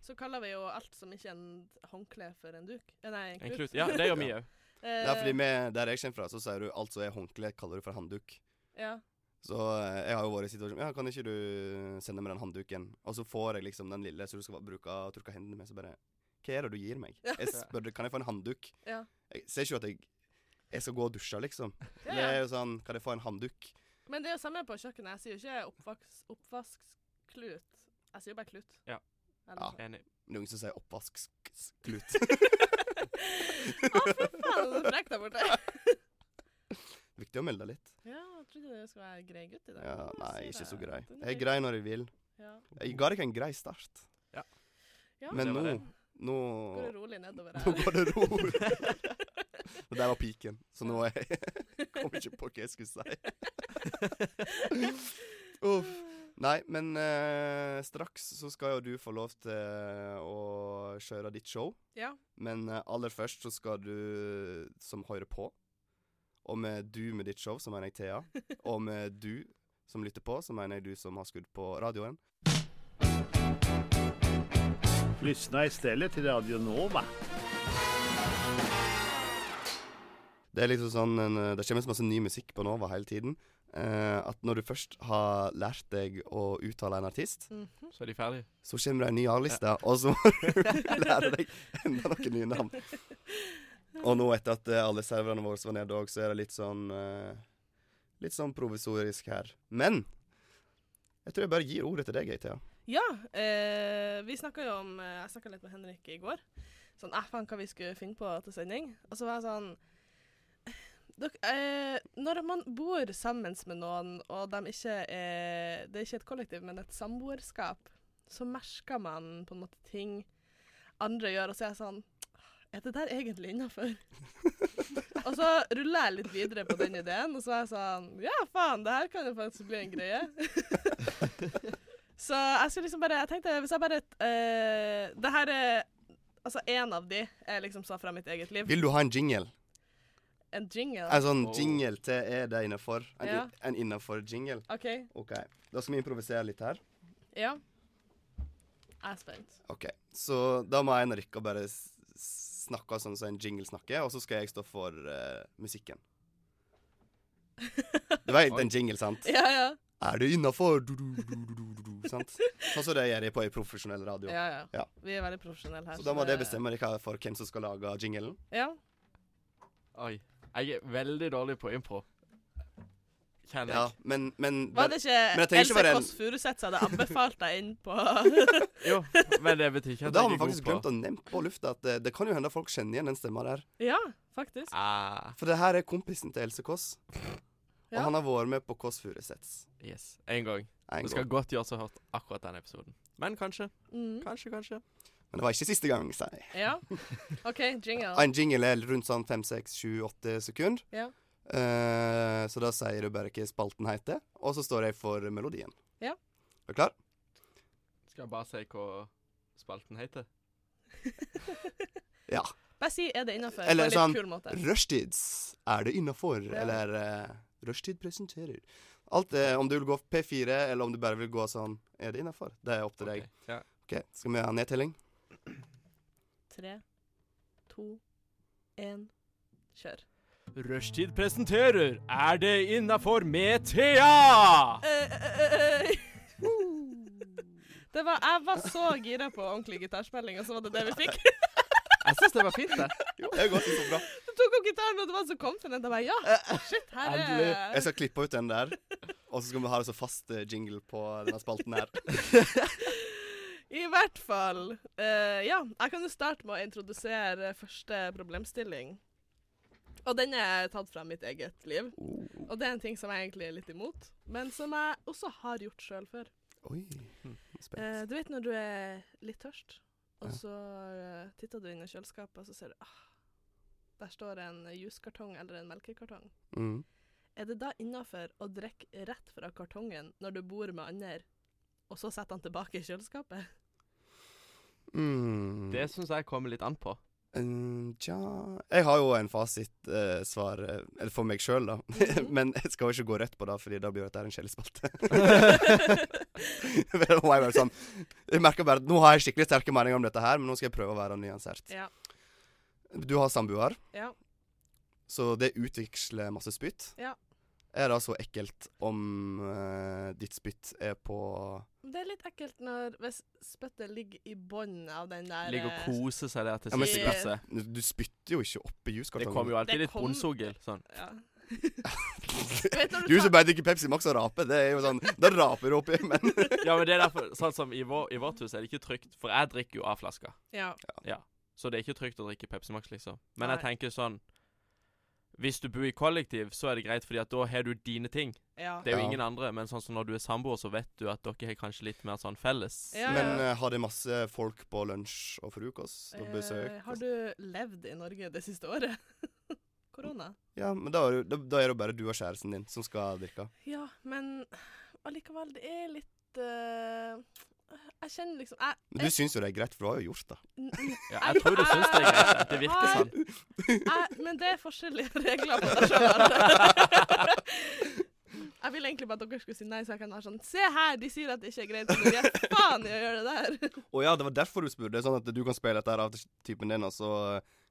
Speaker 3: så kaller vi jo alt som ikke er en håndkle for en duk. Eh, Nei, en
Speaker 2: En
Speaker 3: klut. Eh,
Speaker 2: klut. Ja, det gjør vi
Speaker 1: Ja.
Speaker 2: òg.
Speaker 1: Det er fordi vi- der jeg kommer fra, så sier du alt som er håndkle, kaller du for handduk.
Speaker 3: Ja.
Speaker 1: Så eh, jeg har jo vært i situasjonen Ja, kan ikke du sende meg den handduken? Og så får jeg liksom den lille, så du skal bare bruke og trykke hendene med, så bare Hva er det du gir meg? Jeg spør kan jeg få en handduk.
Speaker 3: Ja.
Speaker 1: Jeg ser ikke at jeg Jeg skal gå og dusje, liksom.
Speaker 3: Ja,
Speaker 1: Det er
Speaker 3: ja.
Speaker 1: jo sånn Kan jeg få en handduk?
Speaker 3: Men det er jo samme på kjøkkenet. Jeg sier jo ikke oppvaks, oppvaskklut. Jeg sier jo bare klut.
Speaker 2: Ja.
Speaker 3: Eller noe
Speaker 2: Enig.
Speaker 1: Men Det er ingen som sier oppvaskklut.
Speaker 3: Å, fy faen, du er frekk der borte.
Speaker 1: Viktig å melde litt.
Speaker 3: Ja, jeg trodde du skulle være grei gutt i dag.
Speaker 1: Ja,
Speaker 3: men jeg
Speaker 1: nei,
Speaker 3: sier
Speaker 1: ikke så
Speaker 3: det.
Speaker 1: grei.
Speaker 3: Den
Speaker 1: Jeg er grei når jeg vil.
Speaker 3: Ja.
Speaker 1: Jeg ga deg en grei start,
Speaker 3: Ja,
Speaker 1: men
Speaker 2: det
Speaker 1: nå
Speaker 2: var det.
Speaker 1: Nå
Speaker 3: Går det rolig nedover
Speaker 1: Nå
Speaker 3: her?
Speaker 1: går det ro. Det der var piken, så nå er jeg kom ikke på hva jeg skulle si. Uff. Nei, men eh, straks så skal jo du få lov til eh, å kjøre ditt show.
Speaker 3: Ja.
Speaker 1: Men eh, aller først så skal du som hører på, og med du med ditt show, så mener jeg Thea, og med du som lytter på, så mener jeg du som har skudd på radioen.
Speaker 4: Lyssna istället till Radio Nova.
Speaker 1: Det er liksom sånn en, eh, Det kommer så masse ny musikk på Nova hele tiden. eh, at når du først har lært deg å uttale en artist,
Speaker 3: Mhm.
Speaker 2: Så er de ferdige.
Speaker 1: så kommer det en ny A-liste, og så må du lære deg enda noen nye navn. Og nå etter at eh, alle serverne våre var nede òg, så er det litt sånn eh, Litt sånn provisorisk her. Men jeg tror jeg bare gir ordet til deg, jeg, Thea.
Speaker 3: Ja, eh, vi snakka jo om eh, Jeg snakka litt med Henrik i går. Sånn, eh, faen, hva vi skulle finne på til sending. Og så var jeg sånn Dok, eh, Når man bor sammen med noen, og de ikke er, det er ikke et kollektiv, men et samboerskap, så merker man på en måte ting andre gjør, og så er jeg sånn Er det der egentlig innafor? jeg Og så rulla jeg litt videre på den ideen, og så var jeg sånn Ja, faen, det her kan jo faktisk bli en greie. så jeg skulle liksom bare Jeg tenkte hvis jeg bare eh, Det her er Altså, én av de er liksom sa fra mitt eget liv.
Speaker 1: Vil du ha en jingle?
Speaker 3: En jingle.
Speaker 1: En sånn
Speaker 2: Oh.
Speaker 1: jingle til er det innafor? En,
Speaker 3: Ja.
Speaker 1: en innafor jingle?
Speaker 3: OK.
Speaker 1: OK. Da skal vi improvisere litt her.
Speaker 3: Ja. Jeg er spent.
Speaker 1: OK. Så da må en av dere bare s- s- snakke sånn som en jingle snakker, og så skal jeg stå for eh, musikken. Du vet en jingle, sant?
Speaker 3: Ja, ja.
Speaker 1: Er det innafor? Sant? Sånn som det gjør jeg på en profesjonell radio.
Speaker 3: ja, ja.
Speaker 1: Ja.
Speaker 3: Vi er veldig profesjonelle her.
Speaker 1: Så da må dere bestemme dere for hvem som skal lage jinglen.
Speaker 3: Ja.
Speaker 2: Oi. Jeg er veldig dårlig på impro. Kjenner
Speaker 1: Ja,
Speaker 2: jeg.
Speaker 1: men, men
Speaker 3: Var det
Speaker 1: Men jeg tenker
Speaker 3: ikke
Speaker 1: ikke
Speaker 3: Else
Speaker 1: bare en-
Speaker 3: Kåss Furuseth som hadde anbefalt deg inn på
Speaker 2: Jo, men det betyr ikke
Speaker 1: Og
Speaker 2: at
Speaker 1: da har
Speaker 2: jeg
Speaker 1: vi
Speaker 2: er god
Speaker 1: faktisk
Speaker 2: på
Speaker 1: glemt å nevne på lufta at det, det kan jo hende folk kjenner igjen den stemma der.
Speaker 3: Ja, faktisk.
Speaker 2: Ah,
Speaker 1: For det her er kompisen til Else Kåss. Og
Speaker 3: Ja.
Speaker 1: han har vært med på Kåss Furuseths.
Speaker 2: yes. En gang.
Speaker 1: en
Speaker 2: Det skal
Speaker 1: gang.
Speaker 2: godt gjøres å ha hørt akkurat den episoden. Men kanskje.
Speaker 3: Mm.
Speaker 2: Kanskje, kanskje.
Speaker 1: Men det var ikke siste gang, sier jeg.
Speaker 3: Ja. OK, jingle.
Speaker 1: En jingle er rundt sånn fem, seks, sju, åtte sekunder.
Speaker 3: Ja.
Speaker 1: Eh, så da sier du bare hva spalten heter, og så står jeg for melodien.
Speaker 3: Ja.
Speaker 1: Er du klar?
Speaker 2: Skal jeg bare si hva spalten heter?
Speaker 1: Ja.
Speaker 3: Bare si 'er det innafor' på en
Speaker 1: Eller
Speaker 3: litt
Speaker 1: sånn-
Speaker 3: kul måte.
Speaker 1: Rushtids er det innafor,
Speaker 3: Ja.
Speaker 1: eller uh, Rushtid presenterer. Alt eh, om du vil gå P4, eller om du bare vil gå sånn Er det innafor? Det er opp til deg.
Speaker 2: Ja.
Speaker 1: Ok, Skal vi ha nedtelling?
Speaker 3: Tre, to, én, kjør.
Speaker 2: Rushtid presenterer Er det innafor med Thea?
Speaker 1: Ah.
Speaker 3: Eh, Det var, jeg var så gira på ordentlig gitarspilling, og så var det det vi fikk.
Speaker 2: Jeg syns det var fint, det.
Speaker 1: Jo, det går så bra.
Speaker 3: Du tok opp gitaren, og du var så confident. Jeg bare ja, shit, her
Speaker 1: Eh, Jeg
Speaker 3: er
Speaker 1: skal klippe ut den der, og så skal vi ha det som fast eh, jingle på denne spalten her.
Speaker 3: I hvert fall. eh, ja, jeg kan jo starte med å introdusere første problemstilling. Og den er tatt fra mitt eget liv. Og det er en ting som jeg egentlig er litt imot, men som jeg også har gjort sjøl før.
Speaker 1: Oi.
Speaker 3: Eh,
Speaker 1: Spent.
Speaker 3: du vet når du er litt tørst, og
Speaker 1: Ja.
Speaker 3: så eh, titter du inn i kjøleskapet, og så ser du ah, der står en juskartong eller en melkekartong.
Speaker 1: Mm.
Speaker 3: Er det da innafor å drikke rett fra kartongen når du bor med andre, og så setter han tilbake i kjøleskapet?
Speaker 1: Mm.
Speaker 2: Det syns jeg kommer litt an på.
Speaker 1: Mm, Tja Jeg har jo en fasitsvar, eh, eller for meg sjøl, da. Men jeg skal jo ikke gå rett på det, Fordi da blir dette her en kjeldespalte. For nå er jeg bare sånn Jeg merker bare at nå har jeg skikkelig sterke meninger om dette her, men nå skal jeg prøve å være nyansert.
Speaker 3: Ja.
Speaker 1: Du har samboer,
Speaker 3: Ja.
Speaker 1: så det utveksler masse spytt.
Speaker 3: Ja.
Speaker 1: Er det så ekkelt om eh, ditt spytt er på
Speaker 3: Det er litt ekkelt når hvis spyttet ligger i bunnen av den der
Speaker 2: Ligger og
Speaker 3: eh,
Speaker 2: koser seg der til
Speaker 1: Ja, men-
Speaker 2: siste klasse.
Speaker 1: Du, du spytter jo ikke oppi
Speaker 2: Det
Speaker 1: juskartongen.
Speaker 2: kommer jo
Speaker 3: Det
Speaker 2: alltid litt
Speaker 3: kom-
Speaker 2: bonsogel. Sånn.
Speaker 3: ja. Vet når
Speaker 1: Du
Speaker 3: du
Speaker 1: som
Speaker 3: tar
Speaker 1: bare drikker Pepsi Max og raper, det er jo sånn Da raper du oppi, men
Speaker 2: Ja, men det er derfor Sånn som i, vår, I vårt hus er det ikke trygt, for jeg drikker jo av flaska.
Speaker 3: ja.
Speaker 2: Så det er ikke trygt å drikke Pepsi Max, liksom. Men jeg
Speaker 3: Nei.
Speaker 2: tenker sånn Hvis du bor i kollektiv, så er det greit, fordi at da har du dine ting.
Speaker 3: ja.
Speaker 2: Det er jo
Speaker 1: Ja.
Speaker 2: ingen andre, men sånn som når du er samboer, så vet du at dere har kanskje litt mer sånn felles.
Speaker 3: Ja, ja.
Speaker 1: Men eh, har det masse folk på lunsj og frokost og besøk?
Speaker 3: Eh, har
Speaker 2: altså.
Speaker 3: du levd i Norge det siste året? Korona?
Speaker 1: Ja, men da er, det- da, da er det jo bare du og kjæresten din som skal drikke.
Speaker 3: Ja, men allikevel, det er litt eh, Jeg kjenner liksom Jeg,
Speaker 1: Men du syns jo det er greit, for du har jo gjort det.
Speaker 3: n- n-
Speaker 2: Ja, jeg tror du syns det er greit. Det virker
Speaker 3: Nei.
Speaker 2: sånn.
Speaker 3: jeg Men det er forskjellige regler på deg sjøl. Jeg ville egentlig bare at dere skulle si nei, så jeg kan være sånn Se her, de sier at det ikke er greit, men de gir faen i å gjøre det der.
Speaker 1: Å ja, det var derfor du spurte, sånn at du kan spille dette her av typen din, og så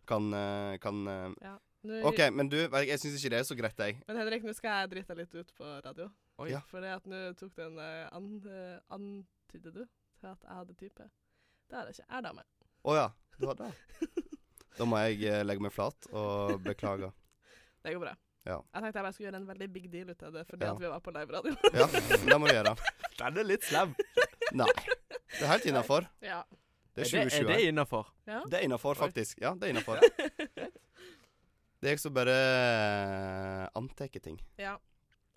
Speaker 1: kan, eh, kan eh,
Speaker 3: Nå-
Speaker 1: OK, men du, jeg, jeg syns ikke det er så greit, jeg.
Speaker 3: Men Henrik, nå skal jeg drite deg litt ut på radio.
Speaker 2: Oi.
Speaker 1: Ja.
Speaker 3: For det at nå tok den eh, an, eh, antydet du til at jeg hadde type. Det har jeg ikke. Jeg er dame.
Speaker 1: Å ja, du hadde det. Da må jeg eh, legge meg flat og beklage.
Speaker 3: Det går bra.
Speaker 1: Ja.
Speaker 3: Jeg tenkte jeg bare skulle gjøre en veldig big deal ut av det fordi
Speaker 1: Ja.
Speaker 3: at vi var på live radio.
Speaker 1: Ja, det må du gjøre.
Speaker 2: Den er litt slem.
Speaker 1: Nei. Det er helt innafor.
Speaker 3: ja.
Speaker 1: Det er
Speaker 2: Er det,
Speaker 1: 2020.
Speaker 2: er det innafor?
Speaker 3: ja.
Speaker 1: Det er innafor,
Speaker 2: Oi.
Speaker 1: faktisk. Ja, det er innafor. Det er jeg som bare antar ting.
Speaker 3: Ja.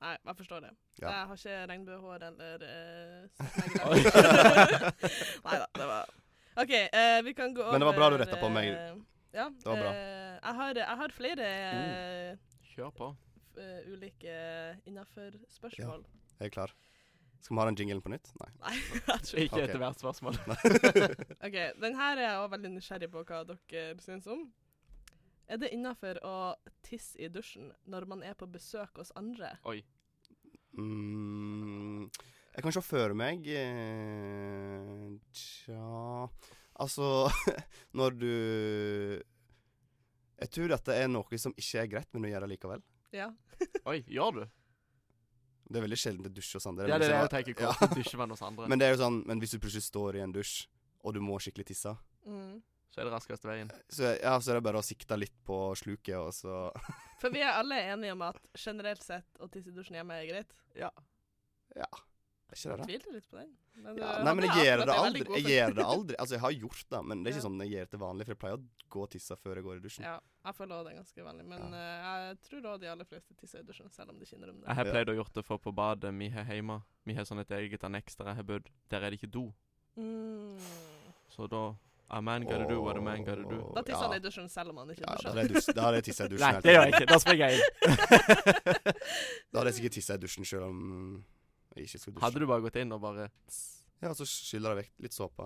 Speaker 3: Nei, jeg forstår det.
Speaker 1: Ja.
Speaker 3: Jeg har ikke regnbuehår eller
Speaker 2: Oi.
Speaker 3: uh, Nei da, det var OK, eh, vi kan gå over
Speaker 1: Men det var bra du rettet på meg.
Speaker 3: eh, Ja,
Speaker 1: Det var bra. Uh.
Speaker 3: eh, jeg, har, jeg har flere eh,
Speaker 2: Kjør på.
Speaker 3: f- eh, ulike innafor spørsmål.
Speaker 1: Jeg er klar. Skal vi ha den jinglen på nytt? Nei.
Speaker 3: Nei, jeg tror
Speaker 2: Ikke
Speaker 1: Ok.
Speaker 2: etter hvert spørsmål.
Speaker 3: OK, den her er jeg også veldig nysgjerrig på hva dere syns om. Er det innafor å tisse i dusjen når man er på besøk hos andre?
Speaker 2: Oi.
Speaker 1: Mm, jeg kan se for meg eh, Tja Altså, når du Jeg tror dette er noe som ikke er greit, men du gjør det likevel.
Speaker 3: Ja.
Speaker 2: Oi, gjør du?
Speaker 1: Det er veldig sjelden det dusj og sånn. det er
Speaker 2: Ja, det er det jeg
Speaker 1: liksom-
Speaker 2: tenker.
Speaker 1: Ja.
Speaker 2: Hvordan dusjer man hos andre?
Speaker 1: Men det er jo sånn Men hvis du plutselig står i en dusj, og du må skikkelig tisse,
Speaker 3: Mm.
Speaker 2: Så er det raskeste veien.
Speaker 1: så, ja, så er det bare å sikte litt på sluket, og så
Speaker 3: For vi er alle enige om at generelt sett å tisse i dusjen hjemme er greit.
Speaker 2: Ja.
Speaker 1: Er ikke det det?
Speaker 3: Jeg tviler litt på den. Men
Speaker 1: Ja,
Speaker 3: du-
Speaker 1: nei, men
Speaker 3: hadde
Speaker 1: jeg gjør
Speaker 3: akkurat
Speaker 1: det
Speaker 3: en veldig
Speaker 1: aldri.
Speaker 3: god
Speaker 1: Jeg gjør det aldri. Altså, jeg har gjort det, men det er ikke
Speaker 3: Ja.
Speaker 1: sånn jeg gjør det til vanlig, for jeg pleier å gå og tisse før jeg går i dusjen.
Speaker 3: Ja, jeg føler også det er ganske vanlig, men eh, jeg tror også de aller fleste tisser i dusjen, selv om de ikke innrømmer
Speaker 2: Jeg
Speaker 3: det.
Speaker 2: har pleid å gjort det for på badet vi har hjemme. Vi har sånn et eget anneks der jeg har bodd. Der er det ikke do.
Speaker 3: Mm.
Speaker 2: Så da A man gotta do what a man gotta do.
Speaker 3: Da tisser
Speaker 1: Ja.
Speaker 3: han i dusjen selv om han ikke
Speaker 1: Ja, da
Speaker 3: dusjer.
Speaker 1: hadde jeg dus- da hadde jeg tissa i dusjen.
Speaker 2: Nei,
Speaker 1: helt
Speaker 2: det gjør jeg
Speaker 1: sikkert.
Speaker 2: ikke. Da springer jeg inn.
Speaker 1: Da hadde jeg sikkert tissa i dusjen selv om jeg ikke skulle dusje.
Speaker 2: Hadde du bare gått inn og bare
Speaker 1: Ja, så skyller jeg vekk litt såpe.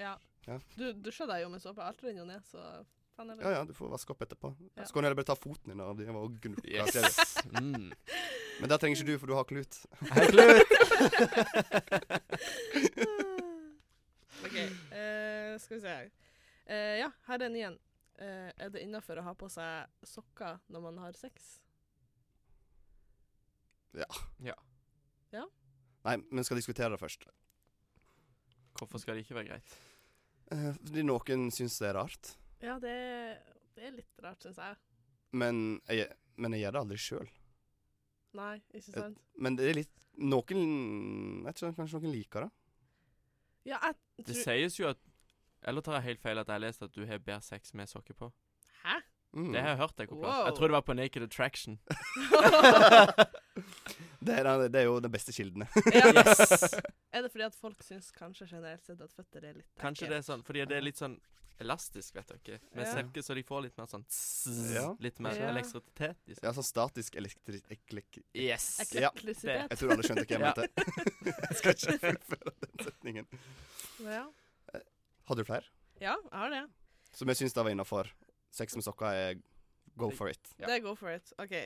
Speaker 3: Ja.
Speaker 1: Ja.
Speaker 3: Du dusjer deg jo med såpe alt renner jo ned, så faen
Speaker 1: Ja
Speaker 3: heller.
Speaker 1: ja, du får vaske opp etterpå.
Speaker 3: Ja.
Speaker 1: Så kan du heller bare ta foten din og drive og gnukke.
Speaker 2: Yes.
Speaker 1: Ja,
Speaker 2: Mm.
Speaker 1: Men det trenger ikke du, for du har klut.
Speaker 2: Helt lurt.
Speaker 3: OK, eh, skal vi se. Eh, ja, her er den igjen. Eh, er det innafor å ha på seg sokker når man har sex?
Speaker 1: Nei, men skal diskutere det først.
Speaker 2: Hvorfor skal det ikke være greit?
Speaker 1: Eh, Fordi noen syns det er rart,
Speaker 3: Ja, det, det er litt rart, syns jeg.
Speaker 1: men jeg, men jeg gjør det aldri sjøl.
Speaker 3: Nei, ikke sant?
Speaker 1: Men det er litt Noen jeg tror Kanskje noen liker det.
Speaker 3: Ja, jeg
Speaker 2: Det
Speaker 3: tror
Speaker 2: sies jo at Eller tar jeg helt feil at jeg har lest at du har bedre sex med sokker på?
Speaker 3: Hæ?
Speaker 1: Mm.
Speaker 2: Det har jeg hørt deg på plass. Jeg
Speaker 3: Wow.
Speaker 2: tror det var på Naked Attraction.
Speaker 1: Det er, det er jo den beste kilden.
Speaker 3: Ja.
Speaker 2: Yes.
Speaker 3: Er det fordi at folk syns kanskje generelt sett at føtter er litt
Speaker 2: Kanskje det er sånn, fordi det er litt sånn elastisk, vet dere. Med
Speaker 3: Ja.
Speaker 2: sekker så de får litt mer sånn tss,
Speaker 1: Ja.
Speaker 2: Litt mer
Speaker 3: Ja.
Speaker 2: elektrisitet i seg.
Speaker 1: Ja, sånn statisk elektri... Eklek...
Speaker 2: Yes!
Speaker 1: Ja.
Speaker 3: Ekleklisitet.
Speaker 1: Jeg tror alle skjønte hva jeg
Speaker 2: Ja.
Speaker 1: mente. Jeg skal ikke fullføre den setningen.
Speaker 3: Ja.
Speaker 1: Hadde du flere?
Speaker 3: ja, jeg har det.
Speaker 1: Som jeg syns det var innafor. Sex med sokker er go for it.
Speaker 2: Ja.
Speaker 3: Det er go for it. OK.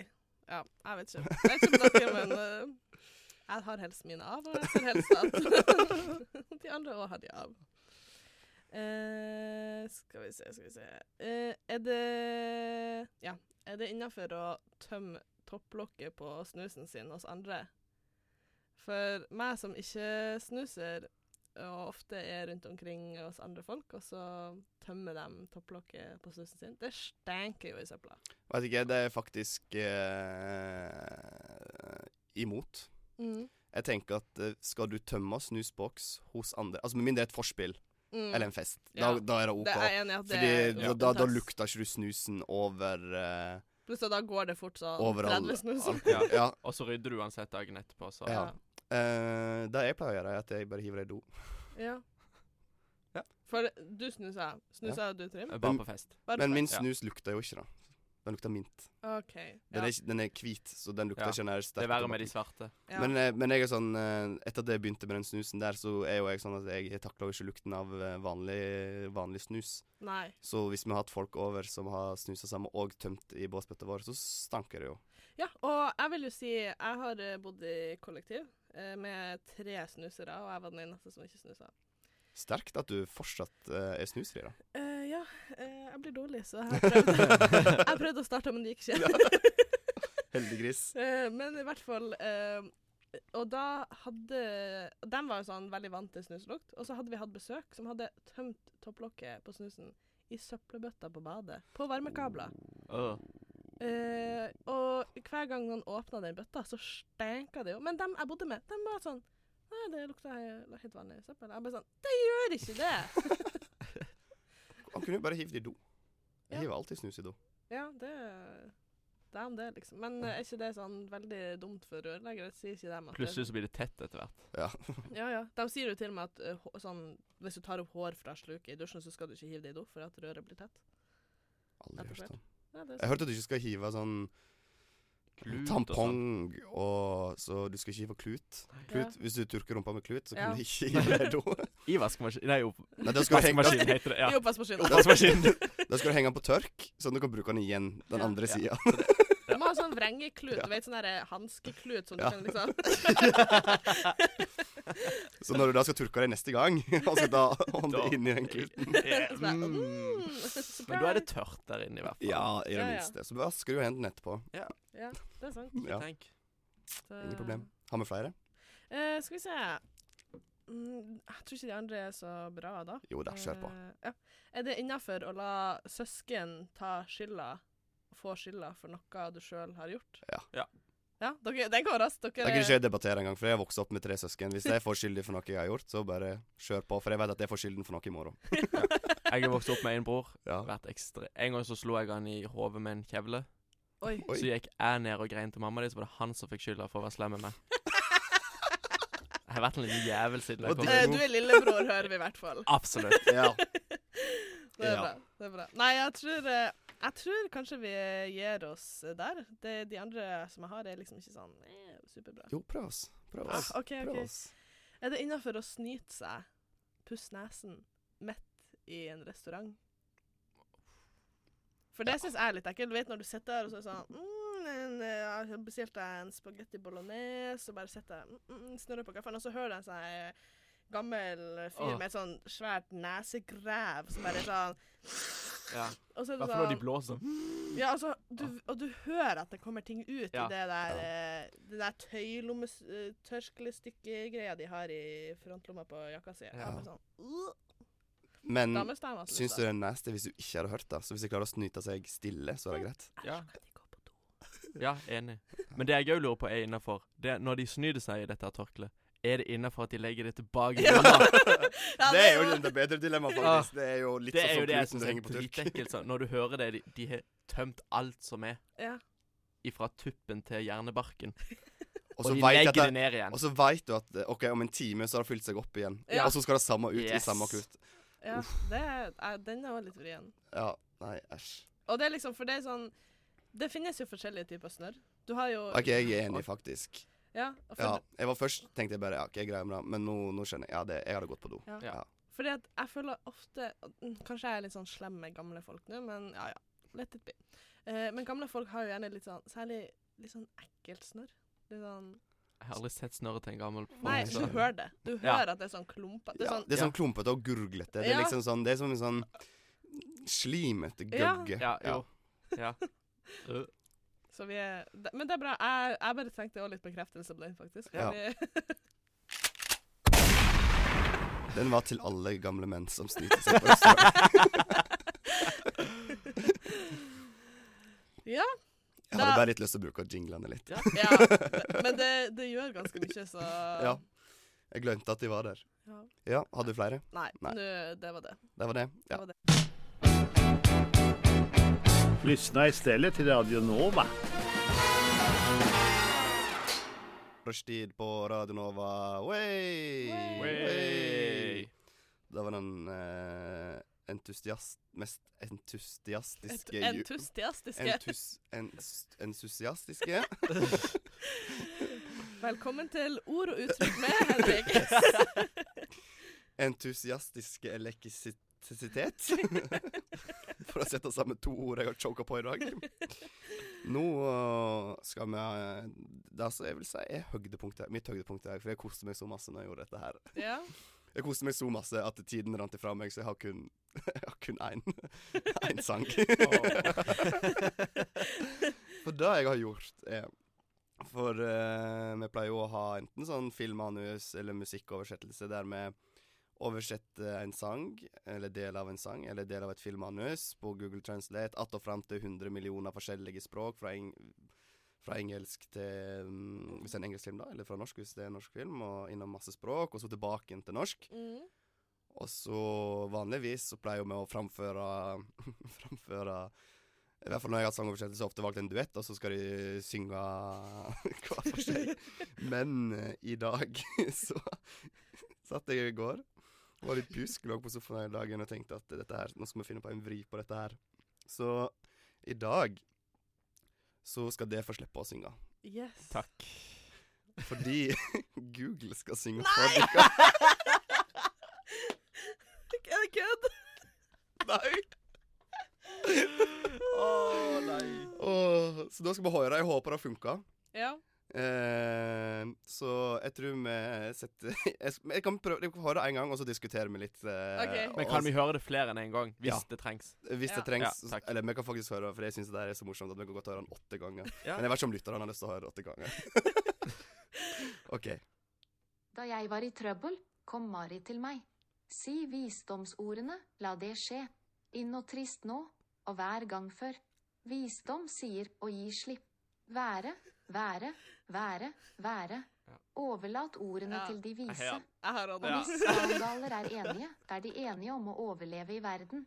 Speaker 3: Ja, jeg vet ikke. Jeg vet ikke om dere, men eh, jeg har helst mine av, og jeg ser helst at de andre òg har de av. Eh, skal vi se, skal vi se Eh, Er det Ja. Er det innafor å tømme topplokket på snusen sin hos andre? For meg som ikke snuser, og ofte er rundt omkring hos andre folk, og så tømmer de topplokket på snusen sin, det stenker jo i søpla.
Speaker 1: Vet ikke, det er faktisk eh, imot.
Speaker 3: Mm.
Speaker 1: Jeg tenker at eh, skal du tømme snusboks hos andre Altså med mindre det er et forspill
Speaker 3: Mm.
Speaker 1: eller en fest,
Speaker 3: Ja.
Speaker 1: da, da er det OK.
Speaker 3: Det er jeg enig i at det
Speaker 1: Fordi
Speaker 3: er
Speaker 1: da, da, da lukter ikke du snusen over eh,
Speaker 3: Pluss at da går det fort sånn
Speaker 1: Over all-
Speaker 3: 30 snus.
Speaker 1: all-
Speaker 2: Ja.
Speaker 1: Ja.
Speaker 2: Og så rydder du uansett dagen etterpå, så
Speaker 1: Ja. Eh, det jeg pleier å gjøre, er at jeg bare hiver det i do.
Speaker 3: Ja.
Speaker 1: Ja.
Speaker 3: For du snuser. Snuser du, Trym?
Speaker 2: jeg er bare på fest.
Speaker 3: Bare
Speaker 1: Men
Speaker 3: for-
Speaker 1: min
Speaker 2: Ja.
Speaker 1: snus lukter jo ikke, da. Den lukter mint.
Speaker 3: OK.
Speaker 1: Den,
Speaker 3: Ja.
Speaker 1: er, ikke- den er hvit, så den lukter
Speaker 2: Ja.
Speaker 1: ikke den der sterke
Speaker 2: Det er verre med de
Speaker 1: tobakken.
Speaker 2: svarte.
Speaker 3: Ja.
Speaker 1: Men, eh, men jeg er sånn eh, etter at jeg begynte med den snusen der, så er jo jeg sånn at jeg, jeg takler jo ikke lukten av eh, vanlig, vanlig snus.
Speaker 3: Nei.
Speaker 1: Så hvis vi har hatt folk over som har snusa sammen og tømt i båsbøtta vår, så stanker det jo.
Speaker 3: Ja, og jeg vil jo si Jeg har eh, bodd i kollektiv eh, med tre snusere, og jeg var den eneste som ikke snusa.
Speaker 1: Sterkt at du fortsatt eh, er snusfri, da.
Speaker 3: Eh, ja, eh, jeg blir dårlig, så jeg har prøvd, jeg prøvde å starte, men det gikk ikke.
Speaker 1: Heldiggris.
Speaker 3: Eh, men i hvert fall eh, Og da hadde og De var jo sånn veldig vant til snuslukt. Og så hadde vi hatt besøk som hadde tømt topplokket på snusen i søppelbøtta på badet. På varmekabler.
Speaker 2: Øh.
Speaker 3: Eh, og hver gang noen åpna den bøtta, så stenka det jo. Men dem jeg bodde med, de var sånn Nei, det lukter he- helt vanlig søppel. Jeg bare sånn Det gjør ikke det!
Speaker 1: Han kunne jo bare hivd det i do. Jeg
Speaker 3: Ja.
Speaker 1: hiver alltid snus i do.
Speaker 3: ja, det det er om det, liksom. Men eh, er ikke det sånn veldig dumt for rørleggere? Sier ikke dem at det-
Speaker 2: Plutselig så blir det tett etter hvert.
Speaker 1: Ja.
Speaker 3: Ja, ja. De sier jo til og med at eh, hå- sånn, hvis du tar opp hår fra sluket i dusjen, så skal du ikke hive det i do for at røret blir tett.
Speaker 1: Aldri hørt om.
Speaker 3: Ja, det er
Speaker 1: Jeg hørte at du ikke skal hive sånn
Speaker 2: Klut og sånn.
Speaker 1: tampong, og så du skal ikke hive klut.
Speaker 3: Ja.
Speaker 1: klut. Hvis du tørker rumpa med klut, så
Speaker 3: Ja.
Speaker 1: kan du ikke hive det da.
Speaker 2: sånn. I vaskemaskin Nei, opp-
Speaker 1: Nei, da skal du henge,
Speaker 2: vaskemaskin heter det. Ja.
Speaker 3: I oppvaskmaskinen.
Speaker 2: Oppvaskmaskin.
Speaker 1: da skal du henge den på tørk, sånn at du kan bruke den igjen den
Speaker 3: Ja.
Speaker 1: andre
Speaker 2: Ja.
Speaker 1: sida.
Speaker 3: Du må ha sånn vrengeklut. Du vet sånn der hanskeklut som du
Speaker 1: Ja.
Speaker 3: kan liksom
Speaker 1: Så når du da skal tørke deg neste gang, og skal da hånda
Speaker 2: Da.
Speaker 1: inni den kluten
Speaker 3: Så bare,
Speaker 2: Mm.
Speaker 3: mm,
Speaker 2: Men da er det
Speaker 3: surprise.
Speaker 2: tørrt der inne, i hvert fall.
Speaker 1: Ja, i det
Speaker 3: Ja, ja.
Speaker 1: minste. Så vasker du hendene etterpå.
Speaker 3: Ja, det er sant.
Speaker 1: Ja,
Speaker 2: Tenk.
Speaker 3: Så-
Speaker 1: Ingen problem. Har vi flere?
Speaker 3: Eh, skal vi se mm, Jeg tror ikke de andre er så bra, da.
Speaker 1: Jo da, kjør på.
Speaker 3: Eh, ja. Er det innafor å la søsken ta skylda, få skylda for noe du sjøl har gjort?
Speaker 1: Ja.
Speaker 2: Ja.
Speaker 3: Ja, dere, den går raskt. Dere
Speaker 1: Jeg kunne ikke jeg debattere engang, for jeg har vokst opp med tre søsken. Hvis jeg får skyldig for noe jeg har gjort, så bare kjør på. For jeg vet at jeg får skylden for noe i morgen.
Speaker 2: Jeg har vokst opp med en bror.
Speaker 1: Ja.
Speaker 2: Vært ekstre. En gang så slo jeg han i hodet med en kjevle.
Speaker 3: Oi.
Speaker 1: Oi.
Speaker 2: Så gikk jeg ned og grein til mamma di, så var det han som fikk skylda for å være slem med meg. Jeg har vært en liten jævel siden
Speaker 1: Og
Speaker 2: jeg kom.
Speaker 1: det-
Speaker 3: Eh, du er lillebror, hører vi i hvert fall.
Speaker 2: Absolutt.
Speaker 1: ja.
Speaker 3: Det er,
Speaker 1: Ja.
Speaker 3: bra. det er bra. Nei, jeg tror, eh, jeg tror kanskje vi gir oss eh, der. Det, de andre som jeg har, er liksom ikke sånn eh, superbra.
Speaker 1: Jo, prøv oss. Prøv
Speaker 3: Ah,
Speaker 1: oss.
Speaker 3: OK,
Speaker 1: Prøv
Speaker 3: OK.
Speaker 1: oss.
Speaker 3: Er det innafor å snyte seg, pusse nesen, midt i en restaurant? For det synes syns jeg er litt ekkelt. Du vet når du sitter der og så er det sånn mm, en, eh, Jeg bestilte en spagetti bolognese, og bare sitter der, mm, mm, snurrer på kaffen, og så hører du en sånn eh, gammel fyr
Speaker 2: Åh.
Speaker 3: med et sånn svært nesegrev som bare er sånn
Speaker 2: Ja.
Speaker 3: Og så er
Speaker 2: I
Speaker 3: det
Speaker 2: hvert fall når de
Speaker 3: sånn
Speaker 2: blåser.
Speaker 3: ja, altså, du, Og du hører at det kommer ting ut
Speaker 2: Ja.
Speaker 3: i det der, eh, det der tøylommetørklestykkegreia de har i frontlomma på jakka si.
Speaker 2: Ja.
Speaker 3: Ja. Sånn, uh,
Speaker 1: Men
Speaker 3: Damestemme, altså.
Speaker 1: Mm. syns du det er nasty hvis du ikke hadde hørt det? Så hvis jeg klarer å snyte seg stille, så er det greit?
Speaker 2: Ja.
Speaker 3: Ellers kan de gå på do.
Speaker 2: Ja, enig. Men det jeg òg lurer på, er innafor. Når de snyter seg i dette tørkleet, er det innafor at de legger det tilbake i
Speaker 3: Ja.
Speaker 2: lomma?
Speaker 3: Ja,
Speaker 1: Det er jo
Speaker 3: var-
Speaker 1: det bedre dilemmaet,
Speaker 2: Ja.
Speaker 1: faktisk. Det er jo litt
Speaker 2: Det er jo
Speaker 1: sånn
Speaker 2: det jeg
Speaker 1: som kluten
Speaker 2: syns
Speaker 1: du
Speaker 2: er
Speaker 1: henger på tørk.
Speaker 2: dritekkelt. sånn. Når du hører det, de, de har tømt alt som er.
Speaker 3: Ja.
Speaker 2: Ifra tuppen til hjernebarken.
Speaker 1: Og
Speaker 2: Og,
Speaker 1: så
Speaker 2: de
Speaker 1: vet jeg
Speaker 2: legger
Speaker 1: at det-
Speaker 2: det ned igjen.
Speaker 1: Og så veit du at eh, OK, om en time så har det fylt seg opp igjen.
Speaker 3: Ja.
Speaker 1: Og så skal det samme ut i
Speaker 2: Yes.
Speaker 1: samme klut.
Speaker 3: ja, det er, eh, den er også litt vrien.
Speaker 1: Ja. Nei, æsj.
Speaker 3: Og det er liksom, for det er sånn Det finnes jo forskjellige typer snørr. Du har jo
Speaker 1: OK, jeg er enig, faktisk.
Speaker 3: Ja, og for,
Speaker 1: Ja, jeg var først tenkte jeg bare ja, OK, jeg greier meg bra, men nå, nå skjønner jeg. Ja, det, jeg hadde gått på do.
Speaker 3: Ja.
Speaker 2: Ja.
Speaker 3: Fordi at jeg føler ofte mm, Kanskje jeg er litt sånn slem med gamle folk nå, men ja, ja. Let it be. Eh, men gamle folk har jo gjerne litt sånn Særlig litt sånn ekkelt snørr. Litt sånn
Speaker 2: Jeg har aldri sett snørret til en gammel
Speaker 3: Nei,
Speaker 1: Oi,
Speaker 3: du
Speaker 1: sånn.
Speaker 3: hører det. Du
Speaker 2: Ja.
Speaker 3: hører at det er sånn klumpete. Det er
Speaker 1: Ja,
Speaker 3: sånn
Speaker 1: det er sånn
Speaker 2: ja.
Speaker 1: klumpete og gurglete. Det er
Speaker 3: Ja.
Speaker 1: liksom sånn Det er som en sånn slimete
Speaker 3: Ja.
Speaker 1: gøgge.
Speaker 2: Ja, jo. Ja. Øh.
Speaker 3: Så vi er det- Men det er bra. Jeg, jeg bare trengte også litt bekreftelse på den, faktisk.
Speaker 1: Ja.
Speaker 3: Vi-
Speaker 1: Den var til alle gamle menn som snyter seg på restaurant.
Speaker 3: ja.
Speaker 1: Jeg hadde
Speaker 3: Da-
Speaker 1: bare litt lyst til å bruke jinglene litt.
Speaker 3: ja. Men det, det gjør ganske mye, så
Speaker 1: Ja. Jeg glemte at de var der.
Speaker 3: Ja.
Speaker 1: Ja, hadde du flere?
Speaker 3: Nei,
Speaker 1: Nei.
Speaker 3: nå- det var det.
Speaker 1: Det var det. Ja.
Speaker 3: var det.
Speaker 4: Lyssna istället till Radio Nova.
Speaker 1: Rushtid på Radio Nova. Wey!
Speaker 3: Wey!
Speaker 2: Wey!
Speaker 1: Det var den eh, entusiast, mest
Speaker 3: Et-
Speaker 1: entusiastiske ju-
Speaker 3: Entusiastiske.
Speaker 1: entus, ens, Entusiastiske
Speaker 3: Velkommen til Ord og uttrykk med Henrik.
Speaker 1: Entusiastiske elektrisitet. For å sette sammen to ord jeg har choka på i dag. Nå øh, skal vi øh, Det som jeg vil si er høydepunktet, mitt høydepunkt i dag. For jeg koste meg så masse når jeg gjorde dette her.
Speaker 3: Ja.
Speaker 1: Jeg koste meg så masse at tiden rant ifra meg, så jeg har kun Jeg har kun én, én sang. for det jeg har gjort, er For eh, vi pleier jo å ha enten sånn filmmanus eller musikkoversettelse der vi oversetter en sang, eller del av en sang, eller del av et filmmanus på Google Translate att og fram til 100 millioner forskjellige språk fra, eng fra engelsk til mm, Hvis det er en engelsk film, da, eller fra norsk hvis det er en norsk film, og innom masse språk, og så tilbake igjen til norsk.
Speaker 3: Mm.
Speaker 1: Og så vanligvis så pleier vi å framføre Framføre I hvert fall når jeg har hatt sangoversettelse, så har jeg ofte valgt en duett, og så skal de synge hver for seg. Men eh, i dag så satt jeg i går, var litt pjusk, lå på sofaen hele dagen og tenkte at dette her, nå skal vi finne på en vri på dette her. Så i dag så skal det få slippe å synge.
Speaker 3: Yes.
Speaker 2: Takk.
Speaker 1: Fordi Google skal synge for dere.
Speaker 3: Er det kødd?
Speaker 1: Nei!
Speaker 2: Å nei.
Speaker 1: Åh, så da skal vi høre. Jeg håper det funker.
Speaker 3: Ja.
Speaker 1: Eh, så jeg tror vi setter Jeg, s- jeg kan prøve jeg kan høre det en gang, og så diskuterer vi litt. eh,
Speaker 3: Ok.
Speaker 1: og-
Speaker 2: Men kan vi høre det flere enn én en gang, hvis
Speaker 1: Ja.
Speaker 2: det trengs?
Speaker 1: Hvis
Speaker 3: Ja.
Speaker 1: det trengs.
Speaker 2: Ja, takk.
Speaker 1: eller vi kan faktisk høre det, for jeg syns det der er så morsomt at vi kan godt høre den åtte ganger.
Speaker 2: Ja.
Speaker 1: Men jeg vet ikke om lytterne har lyst til å høre det åtte ganger. OK.
Speaker 5: Da jeg var i trøbbel, kom Mari til meg. Si visdomsordene, la det skje. Inn og trist nå, og hver gang før. Visdom sier å gi slipp. Være, være, være, være.
Speaker 2: Ja.
Speaker 5: Overlat ordene
Speaker 3: Ja.
Speaker 5: til de
Speaker 2: Jeg
Speaker 5: vise.
Speaker 2: heier.
Speaker 3: Jeg har
Speaker 5: Og
Speaker 2: Ja.
Speaker 5: hvis sandaler er enige, er de enige om å overleve i verden.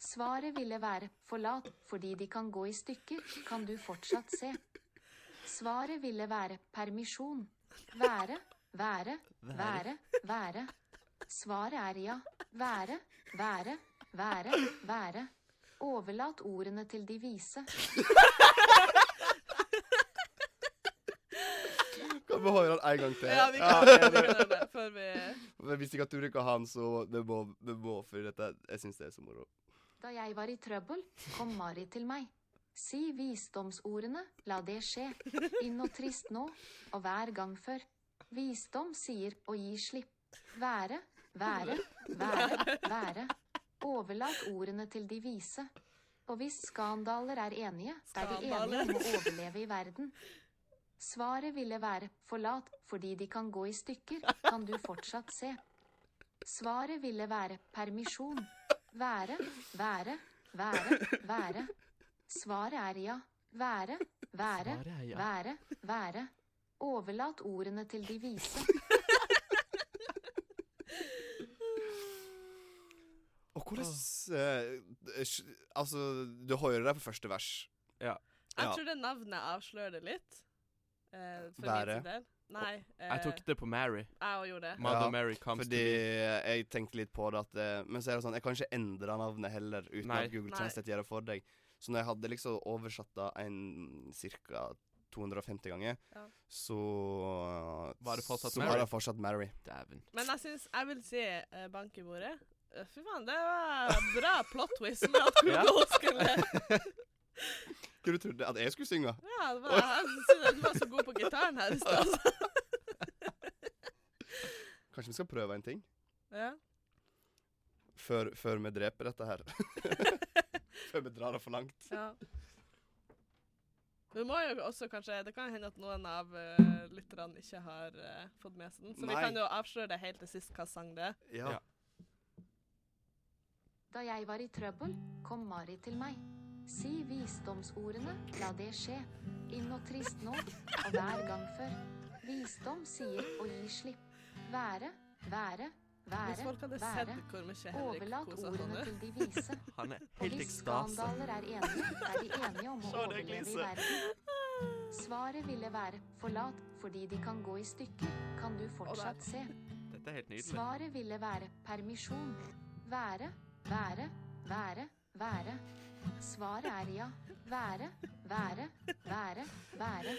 Speaker 5: Svaret ville være forlat, fordi de kan gå i stykker, kan du fortsatt se. Svaret ville være permisjon. Være, være, være, være. Svaret er ja. Være, være, være, være. Overlat ordene til de vise.
Speaker 1: Kan vi høre den en gang til? Ah,
Speaker 3: Ja, vi kan gjøre det før vi
Speaker 1: Men hvis ikke at du liker han, så vi må, vi må for dette. Jeg syns det er så moro.
Speaker 5: Da jeg var i trøbbel, kom Mari til meg. Si visdomsordene, la det skje. Inn og trist nå, og hver gang før. Visdom sier å gi slipp. Være, være, være, være. Overlat ordene til de vise. Og hvis skandaler er enige, er de enige om å overleve i verden. Svaret ville være forlat, fordi de kan gå i stykker, kan du fortsatt se. Svaret ville være permisjon. Være, være, være, være. Svaret er ja. Være, være,
Speaker 2: Svaret er ja.
Speaker 5: være, være. Overlat ordene til de vise.
Speaker 1: Og hvordan
Speaker 2: Ah.
Speaker 1: eh, sj- Altså, du hører det på første vers. Ja.
Speaker 3: Jeg tror det navnet avslører det litt. Eh, for
Speaker 1: Været.
Speaker 3: min sin del. Nei. Eh,
Speaker 2: Jeg tok det på Mary.
Speaker 3: jeg òg gjorde det.
Speaker 2: Mother
Speaker 1: Ja,
Speaker 2: Mary comes
Speaker 1: Fordi
Speaker 2: to me.
Speaker 1: jeg tenkte litt på det at eh, Men så er det sånn, jeg kan ikke endre navnet heller uten
Speaker 2: Nei.
Speaker 1: at Google
Speaker 3: Nei.
Speaker 1: Translate gjør det for deg. Så når jeg hadde liksom oversatt det en ca. 250 ganger,
Speaker 3: Ja.
Speaker 1: så
Speaker 2: Var det fortsatt
Speaker 1: så
Speaker 2: Mary?
Speaker 1: var det fortsatt Mary.
Speaker 2: Dæven.
Speaker 3: Men jeg syns Jeg vil si eh, bank i bordet. Eh, Fy faen, det var bra plot twist med at
Speaker 2: Ja.
Speaker 3: Google skulle
Speaker 1: Hva du trodde at jeg skulle synge?
Speaker 3: Ja, det var, jeg synes at du var så god på gitaren her i stad. altså.
Speaker 1: Kanskje vi skal prøve en ting
Speaker 3: Ja.
Speaker 1: før, før vi dreper dette her? før vi drar det for langt.
Speaker 3: ja. Vi må jo også kanskje, Det kan hende at noen av eh, lytterne ikke har eh, fått med seg den. Så
Speaker 1: Nei.
Speaker 3: vi kan jo avsløre det helt til sist hva sang det er.
Speaker 1: Ja.
Speaker 2: Ja.
Speaker 5: Da jeg var i trøbbel, kom Mari til meg. Si visdomsordene, la det skje. Inn og trist nå, og hver gang før. Visdom sier å gi slipp. Være, være,
Speaker 3: Hvis
Speaker 5: være,
Speaker 3: folk hadde sett
Speaker 5: være.
Speaker 3: hvor mye Henrik
Speaker 5: Overlat
Speaker 3: kosa seg
Speaker 5: ordene
Speaker 3: nå
Speaker 5: til de vise.
Speaker 2: Han er
Speaker 5: Og
Speaker 2: helt
Speaker 5: hvis
Speaker 2: ekstase.
Speaker 5: skandaler er enige, er de enige om å
Speaker 1: Så det
Speaker 5: overleve i
Speaker 1: gliser.
Speaker 5: verden. Svaret ville være forlat, fordi de kan gå i stykker, kan du fortsatt se.
Speaker 2: Dette er helt nydelig.
Speaker 5: Svaret ville være permisjon. Være, være, være, være. Svaret er ja. Være, være, være, være.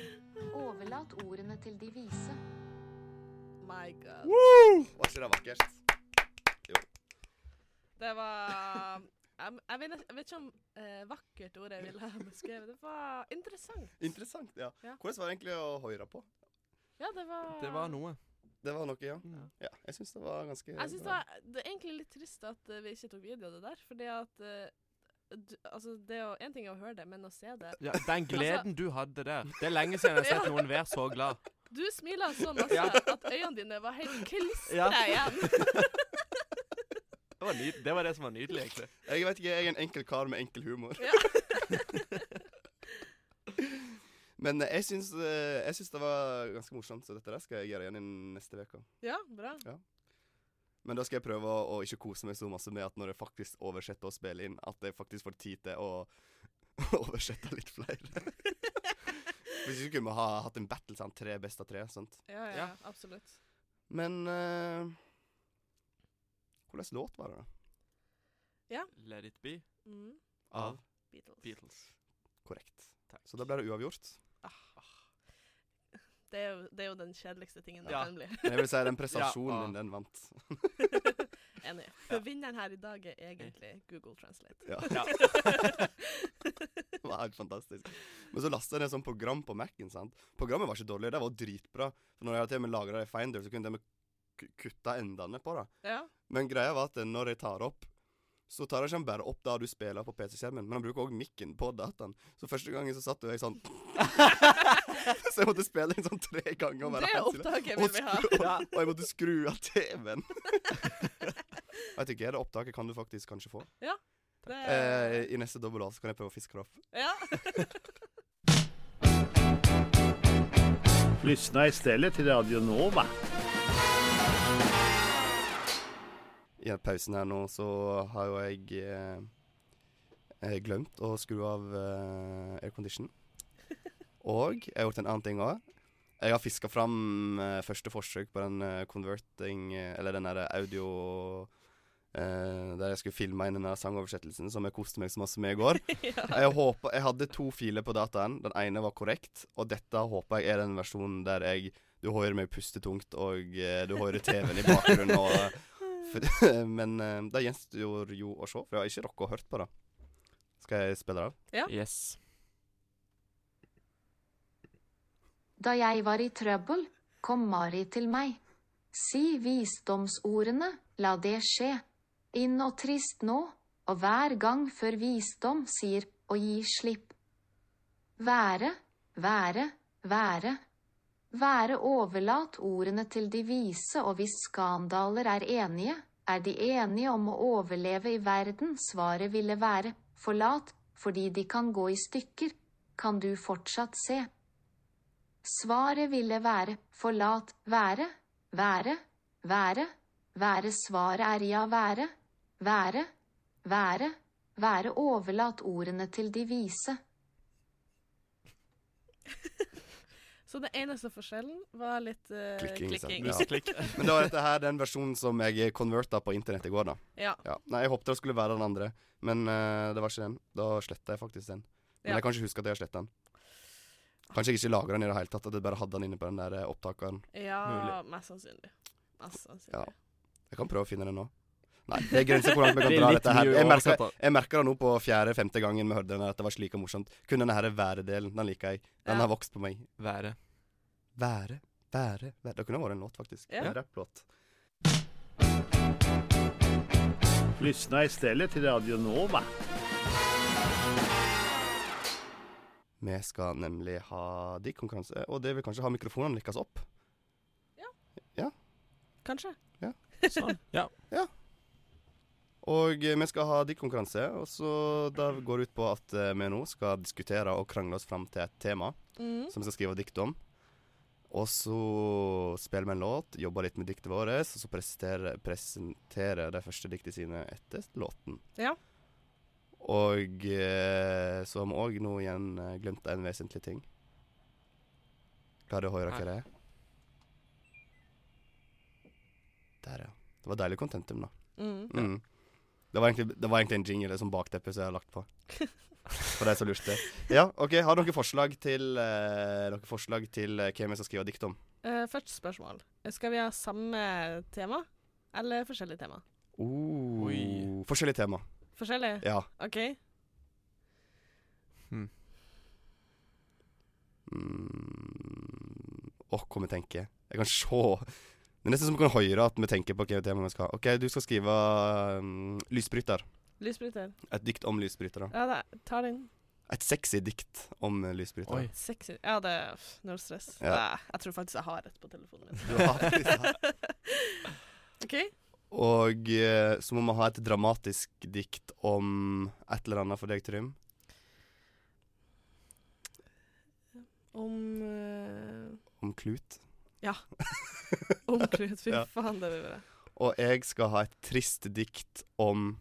Speaker 5: Overlat ordene til de vise.
Speaker 3: My god.
Speaker 1: Var ikke det vakkert?
Speaker 3: Det var um, Jeg, jeg, vil, jeg vet ikke om eh, vakkert ordet jeg ville ha beskrevet. Det var interessant.
Speaker 1: Interessant, ja.
Speaker 3: Ja.
Speaker 1: Hvordan var det egentlig å høre på?
Speaker 3: Ja, det var,
Speaker 2: Det var noe.
Speaker 1: Det var noe, ja.
Speaker 2: Mm.
Speaker 1: ja jeg syns det var ganske
Speaker 3: Jeg synes det, var, det er egentlig litt trist at eh, vi ikke tok video av det der, fordi at eh, du, altså, det er jo én ting er å høre det, men å se det
Speaker 2: Ja, den
Speaker 3: Altså-
Speaker 2: gleden du hadde der. Det er lenge siden jeg har sett noen være så glad.
Speaker 3: Du smiler så masse
Speaker 2: Ja.
Speaker 3: at øynene dine var helt klistra
Speaker 2: Ja.
Speaker 3: igjen.
Speaker 2: Det var, nyd det, var det som var nydelig, egentlig.
Speaker 1: Jeg vet ikke, jeg er en enkel kar med enkel humor.
Speaker 3: Ja.
Speaker 1: Men eh, jeg syns, eh, jeg syns det var ganske morsomt, så dette der skal jeg gjøre igjen i neste uke.
Speaker 3: Ja, bra.
Speaker 1: Men da skal jeg prøve å, å ikke kose meg så masse med at når jeg faktisk oversetter og spiller inn, at jeg faktisk får tid til å oversette litt flere. Hvis ikke kunne vi ha hatt en battle sånn tre best av tre. sant?
Speaker 3: Ja, ja,
Speaker 2: Ja.
Speaker 3: absolutt.
Speaker 1: Men eh, Hvordan låt var det, da?
Speaker 2: Let it be.
Speaker 3: Mm.
Speaker 1: av
Speaker 3: Beatles.
Speaker 2: Beatles.
Speaker 1: Korrekt.
Speaker 2: Takk.
Speaker 1: Så da ble det uavgjort.
Speaker 3: Det er, jo, det er jo den kjedeligste tingen det
Speaker 2: Ja.
Speaker 3: kan bli.
Speaker 1: Men jeg vil si den prestasjonen
Speaker 2: Ja.
Speaker 3: ah.
Speaker 1: din, den vant.
Speaker 3: Enig. For vinneren her i dag er egentlig Google Translate.
Speaker 1: Ja,
Speaker 2: Ja.
Speaker 1: det var helt fantastisk. Men så lastet jeg ned sånn program på Mac-en. sant? Programmet var ikke dårlig, det var dritbra. For når jeg hadde til og med lagra det i Finder, så kunne jeg til og med ku- kutta endene på det.
Speaker 3: Ja.
Speaker 1: Men greia var at når jeg tar opp, så tar jeg ikke bare opp det du spiller på PC-skjermen, men han bruker òg mikken på dataen. Så første gangen så satt jo jeg sånn Så jeg måtte spille inn sånn tre ganger. og være
Speaker 3: Det
Speaker 1: helt stille.
Speaker 3: opptaket
Speaker 1: Og
Speaker 3: vil vi ha.
Speaker 1: skru- Og, og jeg måtte skru av TV-en. jeg vet ikke, det opptaket kan du faktisk kanskje få.
Speaker 3: Det,
Speaker 1: Eh, I neste dobbel A så kan jeg prøve å fiske det opp.
Speaker 3: ja.
Speaker 4: Lyssna istället till Radio Nova.
Speaker 1: I pausen her nå så har jo jeg eh, eh, glemt å skru av eh, aircondition. Og jeg har gjort en annen ting òg. Jeg har fiska fram eh, første forsøk på den eh, converting eh, Eller den der audio eh, Der jeg skulle filme inn den der sangoversettelsen som jeg koste meg så masse med i går.
Speaker 3: ja.
Speaker 1: Jeg, håper, jeg hadde to filer på dataen. Den ene var korrekt, og dette håper jeg er den versjonen der jeg Du hører meg puste tungt, og eh, du hører TV-en i bakgrunnen. Og, for, men eh, det gjenstår jo å se, for jeg har ikke rukket å hørt på det. Skal jeg spille det av?
Speaker 3: Ja.
Speaker 2: Yes.
Speaker 5: Da jeg var i trøbbel, kom Mari til meg. Si visdomsordene, la det skje. Inn og trist nå, og hver gang før visdom sier å gi slipp. Være, være, være. Være overlat ordene til de vise, og hvis skandaler er enige, er de enige om å overleve i verden, svaret ville være forlat, fordi de kan gå i stykker, kan du fortsatt se. Svaret ville være forlat være, være, være, være svaret er ja være, være, være, være overlat ordene til de vise.
Speaker 3: Så den eneste forskjellen var litt eh,
Speaker 1: Klikking, liksom.
Speaker 3: klikking.
Speaker 1: sant? Ja.
Speaker 2: Museklikk.
Speaker 1: Men da var dette her den versjonen som jeg converta på internett i går, da.
Speaker 3: Ja.
Speaker 1: Ja. Nei, jeg håpte det skulle være den andre, men eh, det var ikke den. Da sletta jeg faktisk den. Men
Speaker 3: Ja.
Speaker 1: jeg kan ikke huske at jeg har sletta den. Kanskje jeg ikke lagra den i det hele tatt, at jeg bare hadde den inne på den der eh, opptakeren.
Speaker 3: ja,
Speaker 2: Mulig.
Speaker 3: mest sannsynlig. Mest sannsynlig.
Speaker 1: Ja. Jeg kan prøve å finne det nå. Nei, det er grenser hvor langt vi kan
Speaker 2: Det er
Speaker 1: dra
Speaker 2: litt
Speaker 1: dette her.
Speaker 2: mye
Speaker 1: Jeg merker,
Speaker 2: oversett,
Speaker 1: jeg merker det nå på fjerde-femte gangen vi hørte den her, at det var slik og morsomt. Kun denne her væredelen, den liker jeg. Den
Speaker 3: Ja.
Speaker 1: har vokst på meg.
Speaker 2: Været.
Speaker 1: Være, være, være. Det kunne vært en låt, faktisk.
Speaker 3: Ja.
Speaker 1: En rapplåt.
Speaker 4: Lyssna istället till Radio Nova.
Speaker 1: Vi skal nemlig ha de konkurranse, og det vil kanskje ha mikrofonene likkes opp.
Speaker 3: Kanskje.
Speaker 2: Sånn. Ja.
Speaker 1: Og eh, vi skal ha de konkurranse, og så det går ut på at eh, vi nå skal diskutere og krangle oss fram til et tema.
Speaker 3: Mm.
Speaker 1: som vi skal skrive dikt om. Og så spiller vi en låt, jobber litt med diktet vårt, og så presenterer, presenterer de første diktene sine etter låten.
Speaker 3: Ja.
Speaker 1: Og eh, så har vi òg nå igjen eh, glemt en vesentlig ting. Klarer du å høre hva det er? Der, ja. Det var deilig contentum, da.
Speaker 3: Mm.
Speaker 1: Mm. Det, var egentlig, det var egentlig en jingle som bakteppe som jeg har lagt på. For de som lurte. Ja, OK. Har dere forslag til eh, Dere forslag til eh, hvem jeg skal skrive dikt om?
Speaker 3: Eh, første spørsmål. Skal vi ha samme tema, eller forskjellig tema?
Speaker 1: Oh.
Speaker 2: Oi.
Speaker 1: Forskjellig tema.
Speaker 3: Forskjellig?
Speaker 1: Ja.
Speaker 3: OK.
Speaker 1: Mm. Åh, hva vi tenker. Jeg kan se. Det er nesten som vi kan høre at vi tenker på hvilket tema vi skal ha. OK, du skal skrive mm, 'Lysbryter'.
Speaker 3: Lysbryter.
Speaker 1: Et dikt om lysbrytere.
Speaker 3: Ja, da, ta den.
Speaker 1: Et sexy dikt om eh, lysbrytere.
Speaker 2: Oi.
Speaker 3: Sexy. Ja, det er pff, null stress.
Speaker 1: Ja.
Speaker 3: Nei, jeg tror faktisk jeg har et på telefonen min.
Speaker 1: Du har faktisk-
Speaker 3: OK?
Speaker 1: Og eh, så må vi ha et dramatisk dikt om et eller annet for deg, Trym.
Speaker 3: Om eh,
Speaker 1: Om klut.
Speaker 3: Om klut. Fy
Speaker 1: Ja.
Speaker 3: faen, det vil være.
Speaker 1: Og jeg skal ha et trist dikt om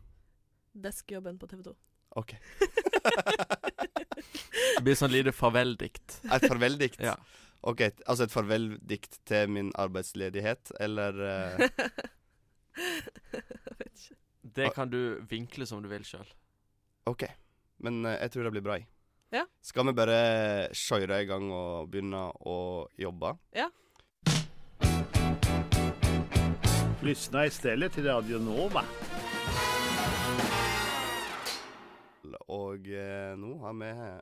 Speaker 3: Deskjobben på TV 2.
Speaker 1: OK.
Speaker 2: Det blir sånn lite farveldikt.
Speaker 1: Et farveldikt.
Speaker 2: Ja.
Speaker 1: OK, t- altså et farveldikt til min arbeidsledighet, eller eh,
Speaker 3: Jeg vet ikke.
Speaker 1: Ah.
Speaker 2: Det kan du vinkle som du vil sjøl.
Speaker 1: OK. Men eh, jeg tror det blir bra. jeg.
Speaker 3: Ja.
Speaker 1: Skal vi bare kjøre i gang og begynne å jobbe?
Speaker 4: Lyssna istället till Radio Nova.
Speaker 1: Og eh, nå har vi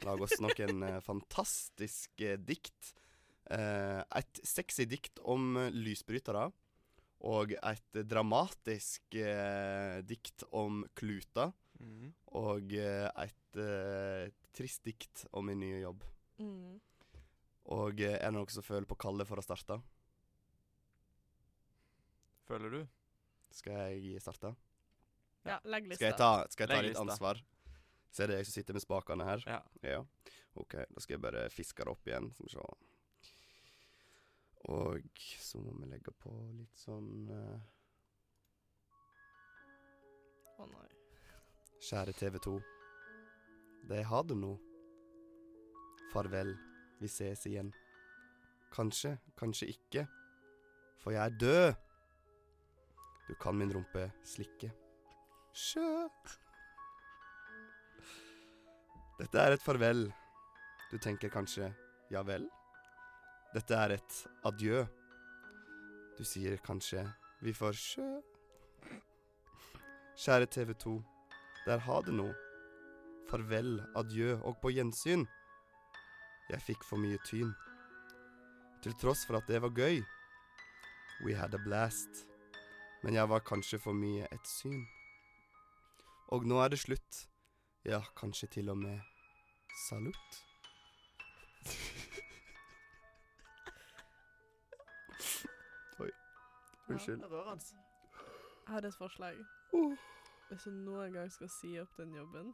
Speaker 1: laget oss noen eh, fantastiske dikt. Eh, et sexy dikt om eh, lysbrytere. Og et dramatisk eh, dikt om kluter.
Speaker 2: Mhm.
Speaker 1: Og eh, et eh, trist dikt om min nye jobb.
Speaker 3: Mm.
Speaker 1: Og eh, er det noen som føler på kallet for å starte?
Speaker 2: Føler du?
Speaker 1: Skal jeg starte?
Speaker 3: Ja, legg lista.
Speaker 1: Skal jeg ta, skal jeg ta
Speaker 2: Legg
Speaker 1: litt
Speaker 2: lista.
Speaker 1: ansvar? Så er det jeg som sitter med spakene her.
Speaker 2: Ja.
Speaker 1: Ja. OK, da skal jeg bare fiske det opp igjen. Skal vi se. Og så må vi legge på litt sånn eh,
Speaker 3: Å nei.
Speaker 1: Kjære TV 2. Det har det nå. Farvel, vi ses igjen. Kanskje, kanskje ikke. For jeg er død. Du kan min rumpe slikke. Sjø. Dette er et farvel. Du tenker kanskje ja vel? Dette er et adjø. Du sier kanskje vi får sjø. Kjære TV 2. Der ha det nå. Farvel, adjø og på gjensyn. Jeg fikk for mye tyn. Til tross for at det var gøy. We had a blast. Men jeg var kanskje for mye et syn. Og nå er det slutt. Ja, kanskje til og med salutt. Oi. Unnskyld.
Speaker 3: Jeg har et forslag.
Speaker 1: Oh.
Speaker 3: Hvis du noen gang skal si opp den jobben,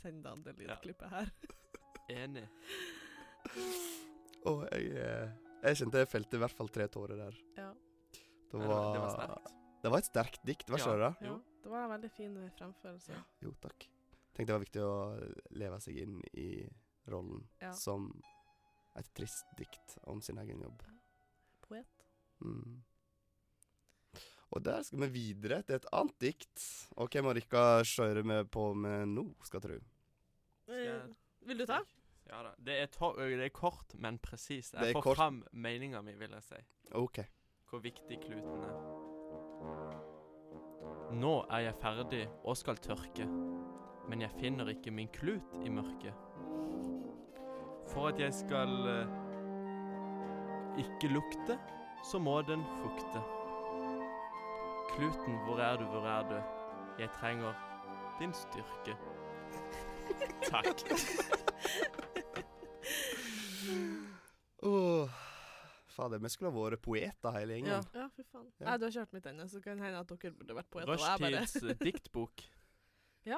Speaker 3: send deg det
Speaker 2: Ja.
Speaker 3: lydklippet her.
Speaker 2: Enig.
Speaker 1: Å, jeg, eh, jeg kjente jeg felte i hvert fall tre tårer der.
Speaker 3: Ja.
Speaker 1: Det
Speaker 2: Nei,
Speaker 1: var,
Speaker 2: det var sterkt.
Speaker 1: Det var et sterkt dikt. Hva
Speaker 2: Ja.
Speaker 1: skjer da?
Speaker 3: Ja, det var en veldig fin eh, fremførelse.
Speaker 1: Jo, takk. Tenkte det var viktig å leve seg inn i rollen
Speaker 3: Ja.
Speaker 1: som et trist dikt om sin egen jobb.
Speaker 3: Poet.
Speaker 1: Mm. Og der skal vi videre til et annet dikt. Og hvem har ikke kjører vi på med nå, skal tru?
Speaker 2: Skal jeg-
Speaker 3: Eh, Vil du ta?
Speaker 2: Ja da. Det er, to ø, det er kort, men presist.
Speaker 1: Det
Speaker 2: Jeg
Speaker 1: er
Speaker 2: får
Speaker 1: kort.
Speaker 2: fram meninga mi, vil jeg si.
Speaker 1: OK.
Speaker 2: Hvor viktig kluten er. Nå er jeg ferdig og skal tørke, men jeg finner ikke min klut i mørket. For at jeg skal eh, ikke lukte, så må den fukte. Kluten, hvor er du, hvor er du? Jeg trenger din styrke. Takk.
Speaker 1: Åh, Fader, vi skulle ha vært poeter hele gjengen.
Speaker 2: Ja.
Speaker 3: Ja, fy faen.
Speaker 1: Ja.
Speaker 3: Nei, du har kjørt mitt ennå, så kan det hende at dere burde vært poeter. og jeg bare-
Speaker 2: Rushtids eh, diktbok.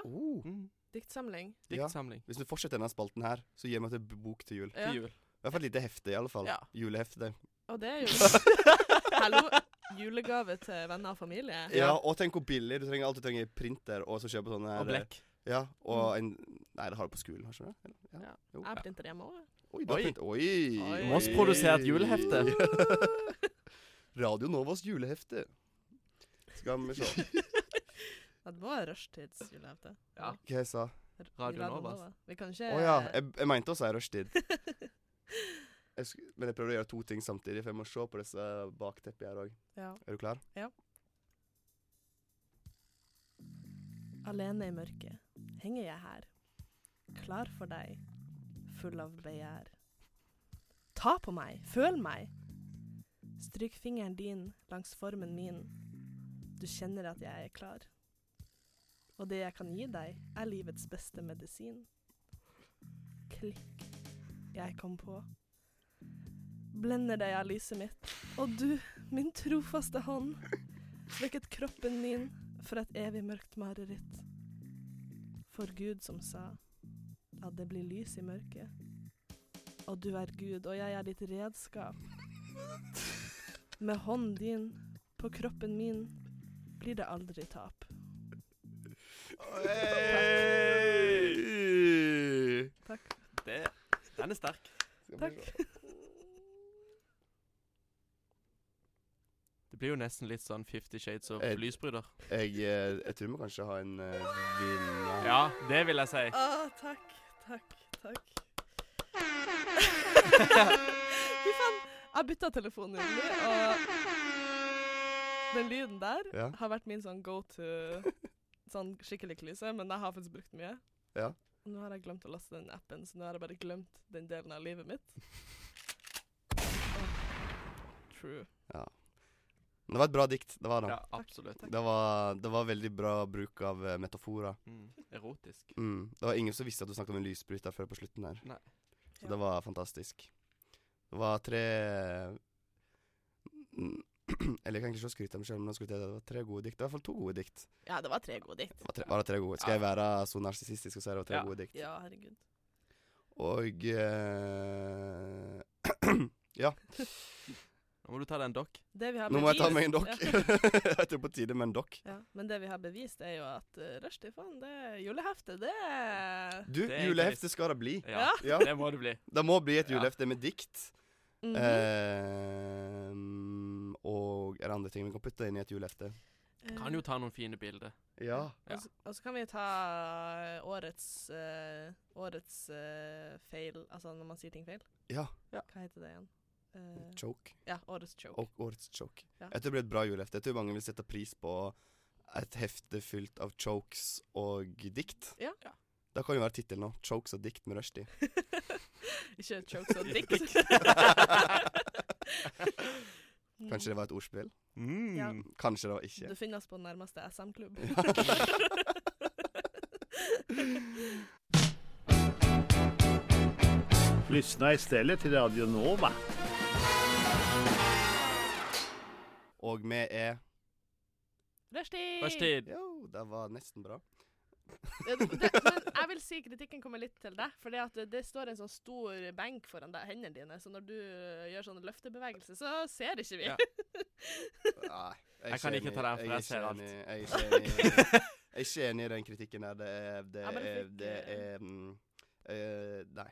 Speaker 1: Oh.
Speaker 2: Mm.
Speaker 3: Diktsamling.
Speaker 1: Ja.
Speaker 2: Diktsamling
Speaker 1: Hvis du fortsetter denne spalten her, så gir vi til bok til jul.
Speaker 3: Ja.
Speaker 2: til jul.
Speaker 1: I hvert fall et lite hefte, i alle fall.
Speaker 2: Ja.
Speaker 1: Julehefte.
Speaker 3: Og det er jo Hallo, julegave til venner og familie.
Speaker 1: Ja, og tenk hvor billig. Du trenger alt du trenger i printer, og så kjøpe sånne her,
Speaker 2: Og blekk. Mm.
Speaker 1: Ja, og en Nei, det har du på skolen, har du ikke det? Eller? Ja. Jo.
Speaker 3: Jeg printer hjemme òg.
Speaker 1: Oi, du har
Speaker 2: Oi.
Speaker 1: print Oi!
Speaker 3: Oi.
Speaker 2: Massprodusert julehefte.
Speaker 1: Radio Novas julehefte. Skal vi se
Speaker 3: Ja, det var rushtidsjulehefte.
Speaker 2: Ja.
Speaker 1: hva jeg sa.
Speaker 2: Radio Novas.
Speaker 3: Vi kan
Speaker 1: Å
Speaker 3: ikke
Speaker 1: ja, jeg, jeg mente å si rushtid. Jeg sk- Men jeg prøvde å gjøre to ting samtidig, for jeg må se på disse bakteppene her òg.
Speaker 3: Ja.
Speaker 1: Er du klar?
Speaker 3: Alene i mørket henger jeg her, klar for deg, full av begjær. Ta på meg, føl meg. Stryk fingeren din langs formen min. Du kjenner at jeg er klar. Og det jeg kan gi deg, er livets beste medisin. Klikk, jeg kom på. Blender deg av lyset mitt, og du, min trofaste hånd, vekket kroppen min for et evig mørkt mareritt. For Gud som sa at det blir lys i mørket. Og du er Gud, og jeg er ditt redskap. Med hånden din på kroppen min blir det aldri tap.
Speaker 1: Hey!
Speaker 3: Takk.
Speaker 2: Det, den er sterk.
Speaker 1: Skal vi
Speaker 3: Takk.
Speaker 1: se.
Speaker 2: Det Det blir jo nesten litt sånn Fifty Shades of
Speaker 1: Eh,
Speaker 2: lysbryter.
Speaker 1: Jeg, eh, jeg tror vi kanskje har en eh, vinner.
Speaker 2: Ja, det vil jeg si.
Speaker 3: Ah, takk, takk, takk. Fy faen. Jeg bytta telefon nylig, og den lyden der
Speaker 1: Ja.
Speaker 3: har vært min sånn go to sånn skikkelig klyse, men jeg har faktisk brukt den mye.
Speaker 1: Ja.
Speaker 3: Og Nå har jeg glemt å laste den appen, så nå har jeg bare glemt den delen av livet mitt. True.
Speaker 1: Men Det var et bra dikt. Det var det.
Speaker 2: Ja, absolutt.
Speaker 1: Det, var, det var veldig bra bruk av eh, metaforer.
Speaker 2: Mm. Erotisk.
Speaker 1: Mm. Det var ingen som visste at du snakket om en lysbryter før på slutten der.
Speaker 2: Nei.
Speaker 1: Så
Speaker 3: Ja.
Speaker 1: det var fantastisk. Det var tre Eller jeg kan ikke så skryte av meg selv, men nå skryter jeg av det. det var tre gode dikt. Det var i hvert fall to gode dikt.
Speaker 3: Ja, det var tre gode dikt.
Speaker 1: Det var, tre, var det tre gode. Skal jeg være så narsissistisk og si det var tre
Speaker 2: Ja.
Speaker 1: gode dikt?
Speaker 3: Ja, herregud.
Speaker 1: Og eh,
Speaker 2: Nå må du ta deg en dokk.
Speaker 3: Det vi har
Speaker 1: Nå må jeg ta
Speaker 3: bevist-
Speaker 1: meg en dokk.
Speaker 3: Ja.
Speaker 1: jeg tror på tide med en dokk.
Speaker 3: Ja, men det vi har bevist er jo at uh, Rushdie, faen, det er julehefte, det er
Speaker 1: Du,
Speaker 2: Det er
Speaker 1: julehefte
Speaker 2: egentlig-
Speaker 1: skal det bli.
Speaker 2: Ja,
Speaker 1: Ja.
Speaker 2: det må det bli.
Speaker 1: Det må bli et
Speaker 2: Ja.
Speaker 1: julehefte med dikt. Eh,
Speaker 3: Mhm.
Speaker 1: Ehm, og er det andre ting vi kan putte inn i et julehefte?
Speaker 2: Kan jo ta noen fine bilder.
Speaker 1: Ja.
Speaker 3: Eh, Og, så, og så kan vi ta årets eh, årets eh, feil, altså når man sier ting feil.
Speaker 1: Ja.
Speaker 3: Hva heter det igjen? Eh,
Speaker 1: Choke. Oh.
Speaker 3: ja, årets choke.
Speaker 1: Og årets choke.
Speaker 3: Ja.
Speaker 1: Jeg tror det blir et bra julehefte. Jeg tror mange vil sette pris på et hefte fylt av chokes og dikt.
Speaker 3: Ja.
Speaker 1: Det kan jo være tittelen nå. 'Chokes og dikt med rushtid'.
Speaker 3: Ikke chokes og dick.
Speaker 1: Kanskje det var et ordspill?
Speaker 2: Mm.
Speaker 3: Ja.
Speaker 1: Kanskje det var ikke.
Speaker 3: Du finner oss på den nærmeste SM-klubb.
Speaker 4: Lyssna istället till Radio Nova.
Speaker 1: Og vi er
Speaker 3: Rushdie!
Speaker 2: Rushtid.
Speaker 1: Jo, det var nesten bra.
Speaker 3: Det, det, men jeg vil si kritikken kommer litt til deg, for det, det står en sånn stor benk foran deg, hendene dine, så når du øh, gjør sånne løftebevegelser, så ser ikke vi.
Speaker 2: Ja.
Speaker 1: Nei. er
Speaker 2: Jeg kan
Speaker 1: enig.
Speaker 2: ikke ta den, for
Speaker 1: er
Speaker 2: jeg ser
Speaker 1: ikke
Speaker 2: alt.
Speaker 1: enig. Jeg er ikke enig. Jeg er ikke enig i den kritikken der. Det er Det
Speaker 3: Jeg bare
Speaker 1: er,
Speaker 3: fikk,
Speaker 1: det
Speaker 3: eh,
Speaker 1: er mm, eh, Nei.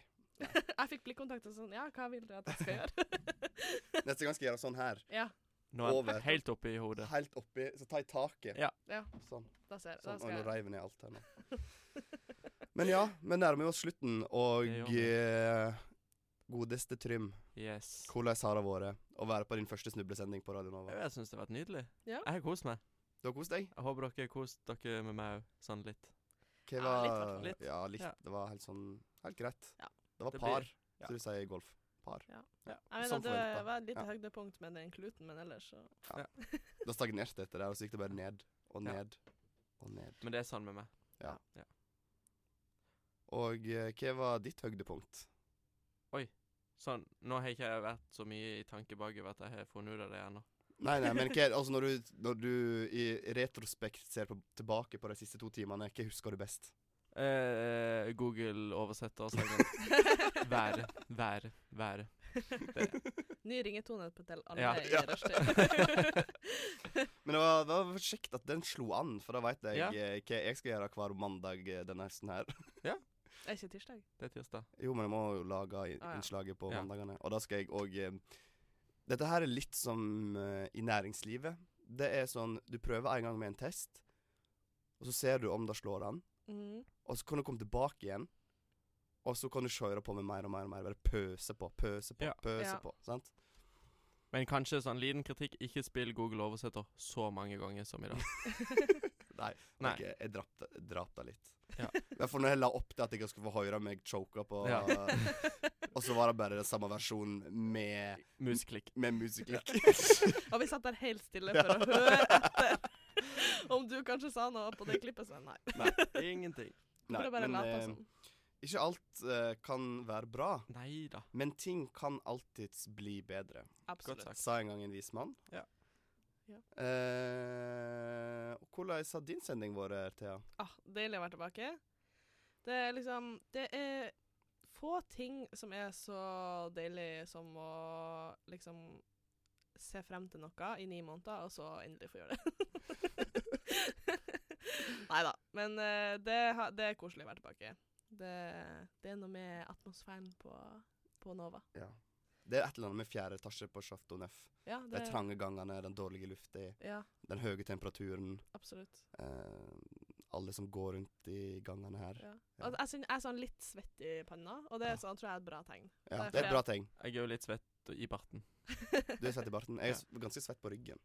Speaker 3: Jeg fikk blikkontakt og sånn, ja, hva vil dere at jeg skal gjøre?
Speaker 1: Neste gang skal jeg gjøre sånn her.
Speaker 3: Ja,
Speaker 2: Nå er
Speaker 1: Over.
Speaker 2: den helt oppe i hodet.
Speaker 1: Helt oppi, så ta i taket.
Speaker 2: Ja.
Speaker 3: Ja.
Speaker 1: Sånn.
Speaker 3: da ser jeg. Da
Speaker 1: Sånn, og
Speaker 3: skal
Speaker 1: nå
Speaker 3: jeg.
Speaker 1: reiv jeg ned alt her nå. Men ja, vi nærmer oss slutten,
Speaker 2: Det gjør
Speaker 1: og
Speaker 2: vi.
Speaker 1: eh, godeste Trym,
Speaker 2: Yes.
Speaker 1: hvordan har det vært å være på din første snublesending på Radio Nova?
Speaker 2: Jeg syns det har vært nydelig.
Speaker 3: Ja.
Speaker 2: Jeg har kost meg.
Speaker 1: Du har kost deg?
Speaker 2: Jeg håper dere har kost dere med meg òg, sånn litt.
Speaker 1: Hva
Speaker 3: Ja, litt,
Speaker 1: var-
Speaker 2: hvertfall. Litt.
Speaker 1: Ja, litt.
Speaker 2: Ja.
Speaker 1: Det var helt sånn Helt greit.
Speaker 3: Ja.
Speaker 1: Det var
Speaker 2: Det blir-
Speaker 1: par,
Speaker 2: ja.
Speaker 1: så du sier i golf. Par.
Speaker 3: Jeg mener
Speaker 1: Som
Speaker 3: at det
Speaker 1: forventet.
Speaker 3: var et lite
Speaker 1: Ja.
Speaker 3: høydepunkt med den kluten, men ellers så...
Speaker 1: Da stagnerte det etter det, og så gikk det bare ned og
Speaker 2: Ja.
Speaker 1: ned og ned.
Speaker 2: Men det er sånn med meg.
Speaker 1: Og eh, hva var ditt høydepunkt?
Speaker 2: Sånn, Nå har ikke jeg vært så mye i tanke bakover at jeg har funnet ut av det ennå.
Speaker 1: Nei, nei, men hva, altså når du, når du i retrospekt ser på, tilbake på de siste to timene, hva husker du best?
Speaker 2: Eh, Google oversetter og sånn. Være, være, være.
Speaker 3: Ny ringetone på til alle
Speaker 2: Ja.
Speaker 1: Ja.
Speaker 3: i rushtid.
Speaker 1: Men det var, det var kjekt at den slo an, for da veit jeg
Speaker 2: Ja.
Speaker 1: eh, hva jeg skal gjøre hver mandag eh, denne høsten her.
Speaker 3: Er ikke tirsdag?
Speaker 2: Det er tirsdag.
Speaker 1: Jo, men jeg må jo lage i-
Speaker 3: Ah, ja.
Speaker 1: innslaget på
Speaker 2: Ja.
Speaker 1: mandagene. Og da skal jeg òg eh, Dette her er litt som eh, i næringslivet. Det er sånn du prøver en gang med en test, og så ser du om det slår an.
Speaker 3: Mm.
Speaker 1: Og så kan du komme tilbake igjen, og så kan du kjøre på med mer og mer og mer. Bare pøse på, pøse på,
Speaker 2: Ja.
Speaker 1: pøse
Speaker 3: Ja.
Speaker 1: på. Sant?
Speaker 2: Men kanskje sånn liten kritikk. Ikke spill Google oversetter så mange ganger som i dag.
Speaker 1: Nei.
Speaker 2: Nei.
Speaker 1: ok, jeg drap det- drap det litt.
Speaker 2: Ja.
Speaker 1: I hvert fall når jeg la opp til at jeg skulle få høre meg choka på
Speaker 2: Ja.
Speaker 3: Mm.
Speaker 1: Og så var det bare den samme versjonen med,
Speaker 2: Musklikk.
Speaker 1: med musikklikk.
Speaker 3: Og vi satt der helt stille for å høre etter om du kanskje sa noe på det klippet, Sven. Nei,
Speaker 2: Ingenting.
Speaker 1: Nei,
Speaker 3: for å bare
Speaker 1: men,
Speaker 3: late
Speaker 1: eh,
Speaker 3: sånn.
Speaker 1: Ikke alt eh, kan være bra,
Speaker 2: Nei da.
Speaker 1: men ting kan alltids bli bedre.
Speaker 2: Godt
Speaker 3: Absolutt.
Speaker 2: sagt.
Speaker 1: Sa en gang en vis mann.
Speaker 2: Ja.
Speaker 3: Ja.
Speaker 1: Eh, og hvordan har din sending vært, Thea?
Speaker 3: Ah, deilig å være tilbake. Det er liksom Det er få ting som er så deilig som å liksom se frem til noe i ni måneder, og så endelig få gjøre det. Nei da. Men eh, det, ha, det er koselig å være tilbake. Det, det er noe med atmosfæren på, på Nova.
Speaker 1: Ja. Det er et eller annet med fjerde etasje på Chateau Neuf.
Speaker 3: Ja,
Speaker 1: De
Speaker 3: det,
Speaker 1: trange gangene, den dårlige lufta,
Speaker 3: ja
Speaker 1: den høye temperaturen.
Speaker 3: absolutt.
Speaker 1: Eh, alle som går rundt i gangene her.
Speaker 3: Ja. Og jeg, synes, jeg er sånn litt svett i panna, og det er sånn, tror jeg er et bra tegn.
Speaker 1: Ja, det
Speaker 3: Derfor
Speaker 1: er
Speaker 3: jeg-
Speaker 1: et bra tegn.
Speaker 2: Jeg er jo litt svett i barten.
Speaker 1: Du er svett i barten. Jeg er s- ganske svett på ryggen.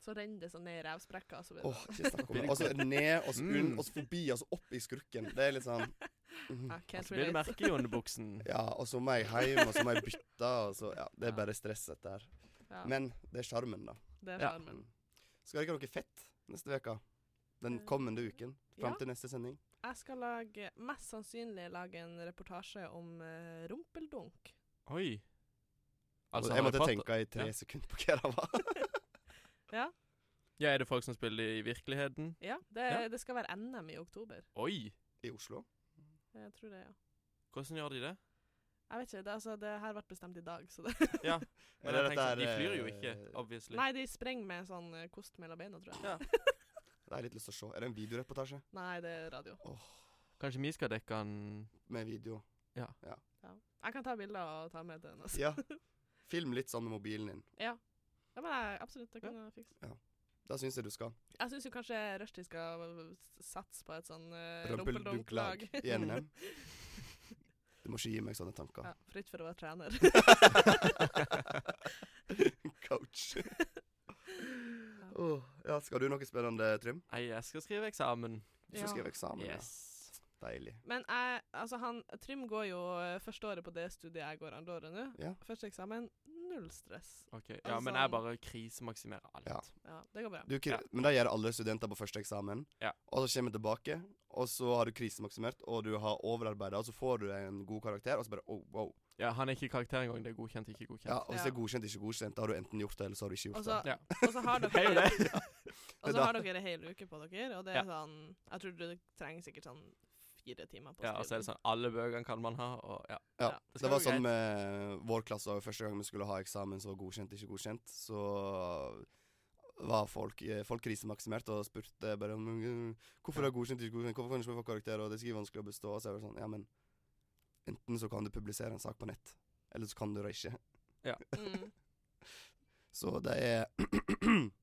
Speaker 3: Så renner det sånn ned i revsprekka. Og så
Speaker 1: Åh, ikke snakk om det. Og så ned, og så unn, og så forbi, og så opp i skurken. Det er litt sånn mm.
Speaker 3: I can't
Speaker 2: Så blir det Altså,
Speaker 3: relate.
Speaker 2: merke i underbuksen.
Speaker 1: Ja, og så må jeg hjem, og så må jeg bytte, og så Ja, det er bare stress dette her.
Speaker 3: Ja,
Speaker 1: Men det er sjarmen, da. Mm.
Speaker 3: det er
Speaker 2: Ja.
Speaker 3: sjarmen.
Speaker 1: Skal dere ha noe fett neste uke? Den
Speaker 3: Eh,
Speaker 1: kommende uken? Fram
Speaker 3: ja.
Speaker 1: til neste sending?
Speaker 3: Jeg skal lage, mest sannsynlig lage en reportasje om eh, rumpeldunk.
Speaker 2: Oi.
Speaker 1: Altså,
Speaker 2: Harry
Speaker 1: jeg måtte
Speaker 2: Potter-
Speaker 1: tenke i tre
Speaker 2: Ja.
Speaker 1: sekunder på hva det var.
Speaker 2: Ja, er det folk som spiller i virkeligheten?
Speaker 3: Ja, det,
Speaker 2: Ja.
Speaker 3: det skal være NM i oktober.
Speaker 2: Oi!
Speaker 1: I Oslo?
Speaker 3: Jeg tror det, ja.
Speaker 2: Hvordan gjør de det?
Speaker 3: Jeg vet ikke, det, altså, det her ble bestemt i dag, så det
Speaker 2: Ja, men
Speaker 1: Eller
Speaker 2: jeg tenker, sånn,
Speaker 1: dette
Speaker 2: de
Speaker 1: er,
Speaker 2: flyr jo
Speaker 1: eh,
Speaker 2: ikke, obviously.
Speaker 3: Nei, de sprenger med en sånn eh, kost mellom beina, tror jeg.
Speaker 2: Ja.
Speaker 1: Det har jeg litt lyst til å se. Er det en videoreportasje?
Speaker 3: Nei, det er radio.
Speaker 2: Kanskje vi skal dekke den
Speaker 1: Med video?
Speaker 3: Ja. Jeg kan ta bilder og ta med til henne. Altså.
Speaker 1: Ja. Film litt sånn med mobilen din.
Speaker 3: Ja. ja, men jeg, absolutt, det kan jeg fikse.
Speaker 1: Da syns jeg du skal.
Speaker 3: Jeg syns jo kanskje Rushdie skal øh, s- satse på et sånn uh,
Speaker 1: Rumpeldunk-lag
Speaker 3: rumpeldunk-lag.
Speaker 1: i NM. Du må ikke gi meg sånne tanker.
Speaker 3: Ja, fritt for å være trener.
Speaker 1: Coach. Åh, ja, skal du noe spennende, Trym?
Speaker 2: Nei, jeg skal skrive eksamen.
Speaker 1: Du skal skrive eksamen.
Speaker 2: Yes.
Speaker 1: Ja. Deilig.
Speaker 3: Men jeg, altså han, Trym går jo øh, første året på det studiet jeg går andre året nå.
Speaker 1: Ja.
Speaker 3: Første eksamen, null stress.
Speaker 2: Ok, Ja, men jeg bare krisemaksimerer alt.
Speaker 1: Ja.
Speaker 3: Ja, det går bra.
Speaker 1: Du, Kir-
Speaker 2: Ja.
Speaker 1: Men det gjør alle studenter på første eksamen.
Speaker 2: Ja.
Speaker 1: Og så kommer du tilbake, og så har du krisemaksimert, og du har overarbeida, og så får du en god karakter, og så bare oh, wow.
Speaker 2: Ja, Han er ikke karakter engang. Det er godkjent, ikke godkjent.
Speaker 1: Ja, og hvis det
Speaker 3: Ja.
Speaker 1: er godkjent, ikke godkjent, da har du enten gjort det, eller så har du ikke gjort
Speaker 3: Og så
Speaker 2: Ja.
Speaker 3: og så har
Speaker 2: Det er jo
Speaker 3: dere
Speaker 2: det.
Speaker 3: Og
Speaker 1: Men
Speaker 3: så
Speaker 1: da-
Speaker 3: har dere ei hel uke på dere, og det er
Speaker 2: Ja.
Speaker 3: sånn Jeg tror du trenger sikkert sånn fire timer på å
Speaker 2: Ja, og så er det sånn Alle bøkene kan man ha, og ja.
Speaker 1: det. Ja.
Speaker 3: ja,
Speaker 2: det
Speaker 1: Det,
Speaker 2: skal
Speaker 1: var
Speaker 2: gå
Speaker 1: sånn med vår klasse òg. Første gang vi skulle ha eksamen som var godkjent, ikke godkjent, så var folk, eh, folk krisemaksimert og spurte bare om eh, hvorfor det er godkjent, ikke godkjent, hvorfor kan du ikke få karakter, og det er sikkert vanskelig å bestå. Og så er det sånn, ja, men enten så kan du publisere en sak på nett, eller så kan du det ikke.
Speaker 3: Mm.
Speaker 1: Så det er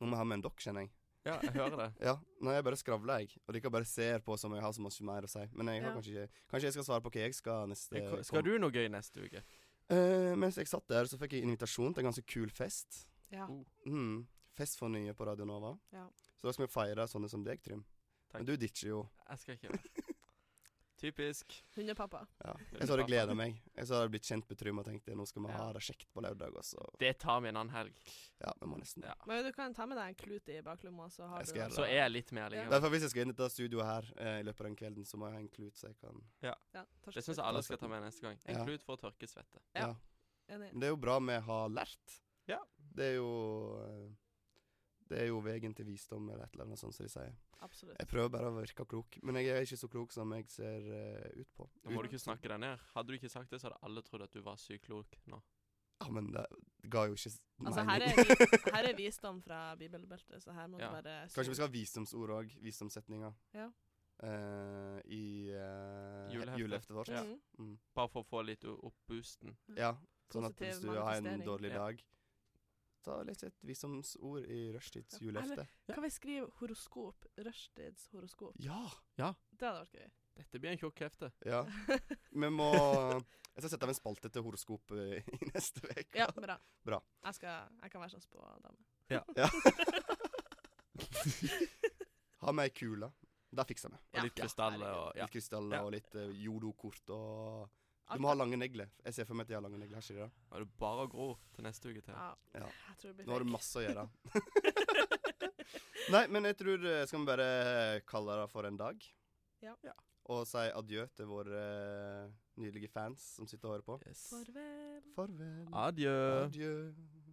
Speaker 1: Nå må jeg ha med en dokk, kjenner jeg.
Speaker 2: ja, jeg hører det.
Speaker 1: Ja, Nei, jeg bare skravler, jeg. Og dere bare ser på som om jeg har så mye mer å si. Men jeg har
Speaker 3: Ja.
Speaker 1: kanskje ikke Kanskje jeg skal svare på hva jeg skal neste
Speaker 2: Men hva- Skal du noe gøy neste uke?
Speaker 1: Eh, mens jeg satt der, så fikk jeg invitasjon til en ganske kul fest.
Speaker 3: Ja.
Speaker 2: Oh.
Speaker 1: Mm. Fest for nye på Radio Nova.
Speaker 3: Ja.
Speaker 1: Så da skal vi feire sånne som deg, Trym.
Speaker 2: Takk.
Speaker 1: Men du ditcher jo.
Speaker 2: Jeg skal ikke gjøre det. Typisk.
Speaker 3: Hundepappa.
Speaker 1: Ja. Jeg så hadde gleda meg. Jeg så hadde blitt kjent med Trym og tenkte nå skal vi ha
Speaker 3: Ja.
Speaker 1: det kjekt på lørdag også.
Speaker 2: Det tar vi en annen helg.
Speaker 1: Ja, vi må nesten
Speaker 2: Ja.
Speaker 1: det.
Speaker 3: Men du kan ta med deg en klut i baklomma, så har
Speaker 1: Jeg
Speaker 3: du
Speaker 1: skal gjøre
Speaker 2: Så er jeg litt mer likevel.
Speaker 1: Derfor hvis jeg skal inn i dette studioet her eh, i løpet av den kvelden, så må jeg ha en klut så jeg kan
Speaker 3: Ja, tar
Speaker 2: Det
Speaker 3: slutt.
Speaker 2: syns jeg alle skal ta med neste gang. En
Speaker 1: Ja.
Speaker 2: klut for å tørke svette.
Speaker 3: Ja.
Speaker 1: ja.
Speaker 3: Enig.
Speaker 1: Men det er jo bra vi har lært.
Speaker 2: Ja.
Speaker 1: Det er jo eh, Det er jo veien til visdom, eller et eller annet sånt som de sier.
Speaker 3: Absolutt.
Speaker 1: Jeg prøver bare å virke klok, men jeg er ikke så klok som jeg ser eh, ut på.
Speaker 2: Nå må
Speaker 1: Ut-
Speaker 2: du ikke snakke deg ned. Hadde du ikke sagt det, så hadde alle trodd at du var sykt klok nå.
Speaker 1: Ja, men det ga jo ikke s-
Speaker 3: Altså, her
Speaker 1: mening.
Speaker 3: er, vi, her er visdom fra bibelbeltet, så her må
Speaker 2: Ja.
Speaker 3: du bare
Speaker 1: Kanskje vi skal ha visdomsord òg. Visdomssetninger.
Speaker 3: Ja.
Speaker 1: Eh, I eh,
Speaker 2: Juleheftet.
Speaker 1: juleheftet vårt.
Speaker 2: Ja.
Speaker 3: Mm.
Speaker 1: Mm.
Speaker 2: Bare for å få litt o- opp boosten.
Speaker 1: ja. Sånn at
Speaker 3: Positiv
Speaker 1: hvis du har en
Speaker 3: manifestering.
Speaker 1: dårlig
Speaker 2: Ja.
Speaker 1: dag, ta litt et visdomsord i rushtids
Speaker 3: Ja.
Speaker 1: julehefte.
Speaker 3: Kan vi skrive horoskop? Rushtids horoskop.
Speaker 1: Ja!
Speaker 3: Det hadde vært gøy.
Speaker 2: Dette blir en tjukk hefte.
Speaker 1: Ja. Vi må Jeg skal sette av en spalte til horoskop eh, i neste uke.
Speaker 3: Ja, bra.
Speaker 1: Bra.
Speaker 3: Jeg, skal, jeg kan være sånn spådame.
Speaker 1: Ha med ei kule. Det fikser vi.
Speaker 2: Og litt krystaller og ja.
Speaker 1: Litt krystaller
Speaker 2: Ja.
Speaker 1: og litt eh, jodokort og Du
Speaker 3: Alt
Speaker 1: må ha lange negler. Jeg ser for meg at de har lange negler. Har ikke de det?
Speaker 2: Og det er bare å gro til neste uke til.
Speaker 3: Ja.
Speaker 1: Ja.
Speaker 3: Jeg tror det blir
Speaker 1: Nå har du
Speaker 3: fake.
Speaker 1: masse å gjøre. Nei, men jeg tror eh, Skal vi bare kalle det for en dag?
Speaker 3: Ja.
Speaker 2: Ja.
Speaker 1: Og si adjø til våre eh, nydelige fans som sitter og hører på.
Speaker 2: Yes.
Speaker 3: Farvel.
Speaker 1: Farvel.
Speaker 2: Adjø.
Speaker 1: Adjø.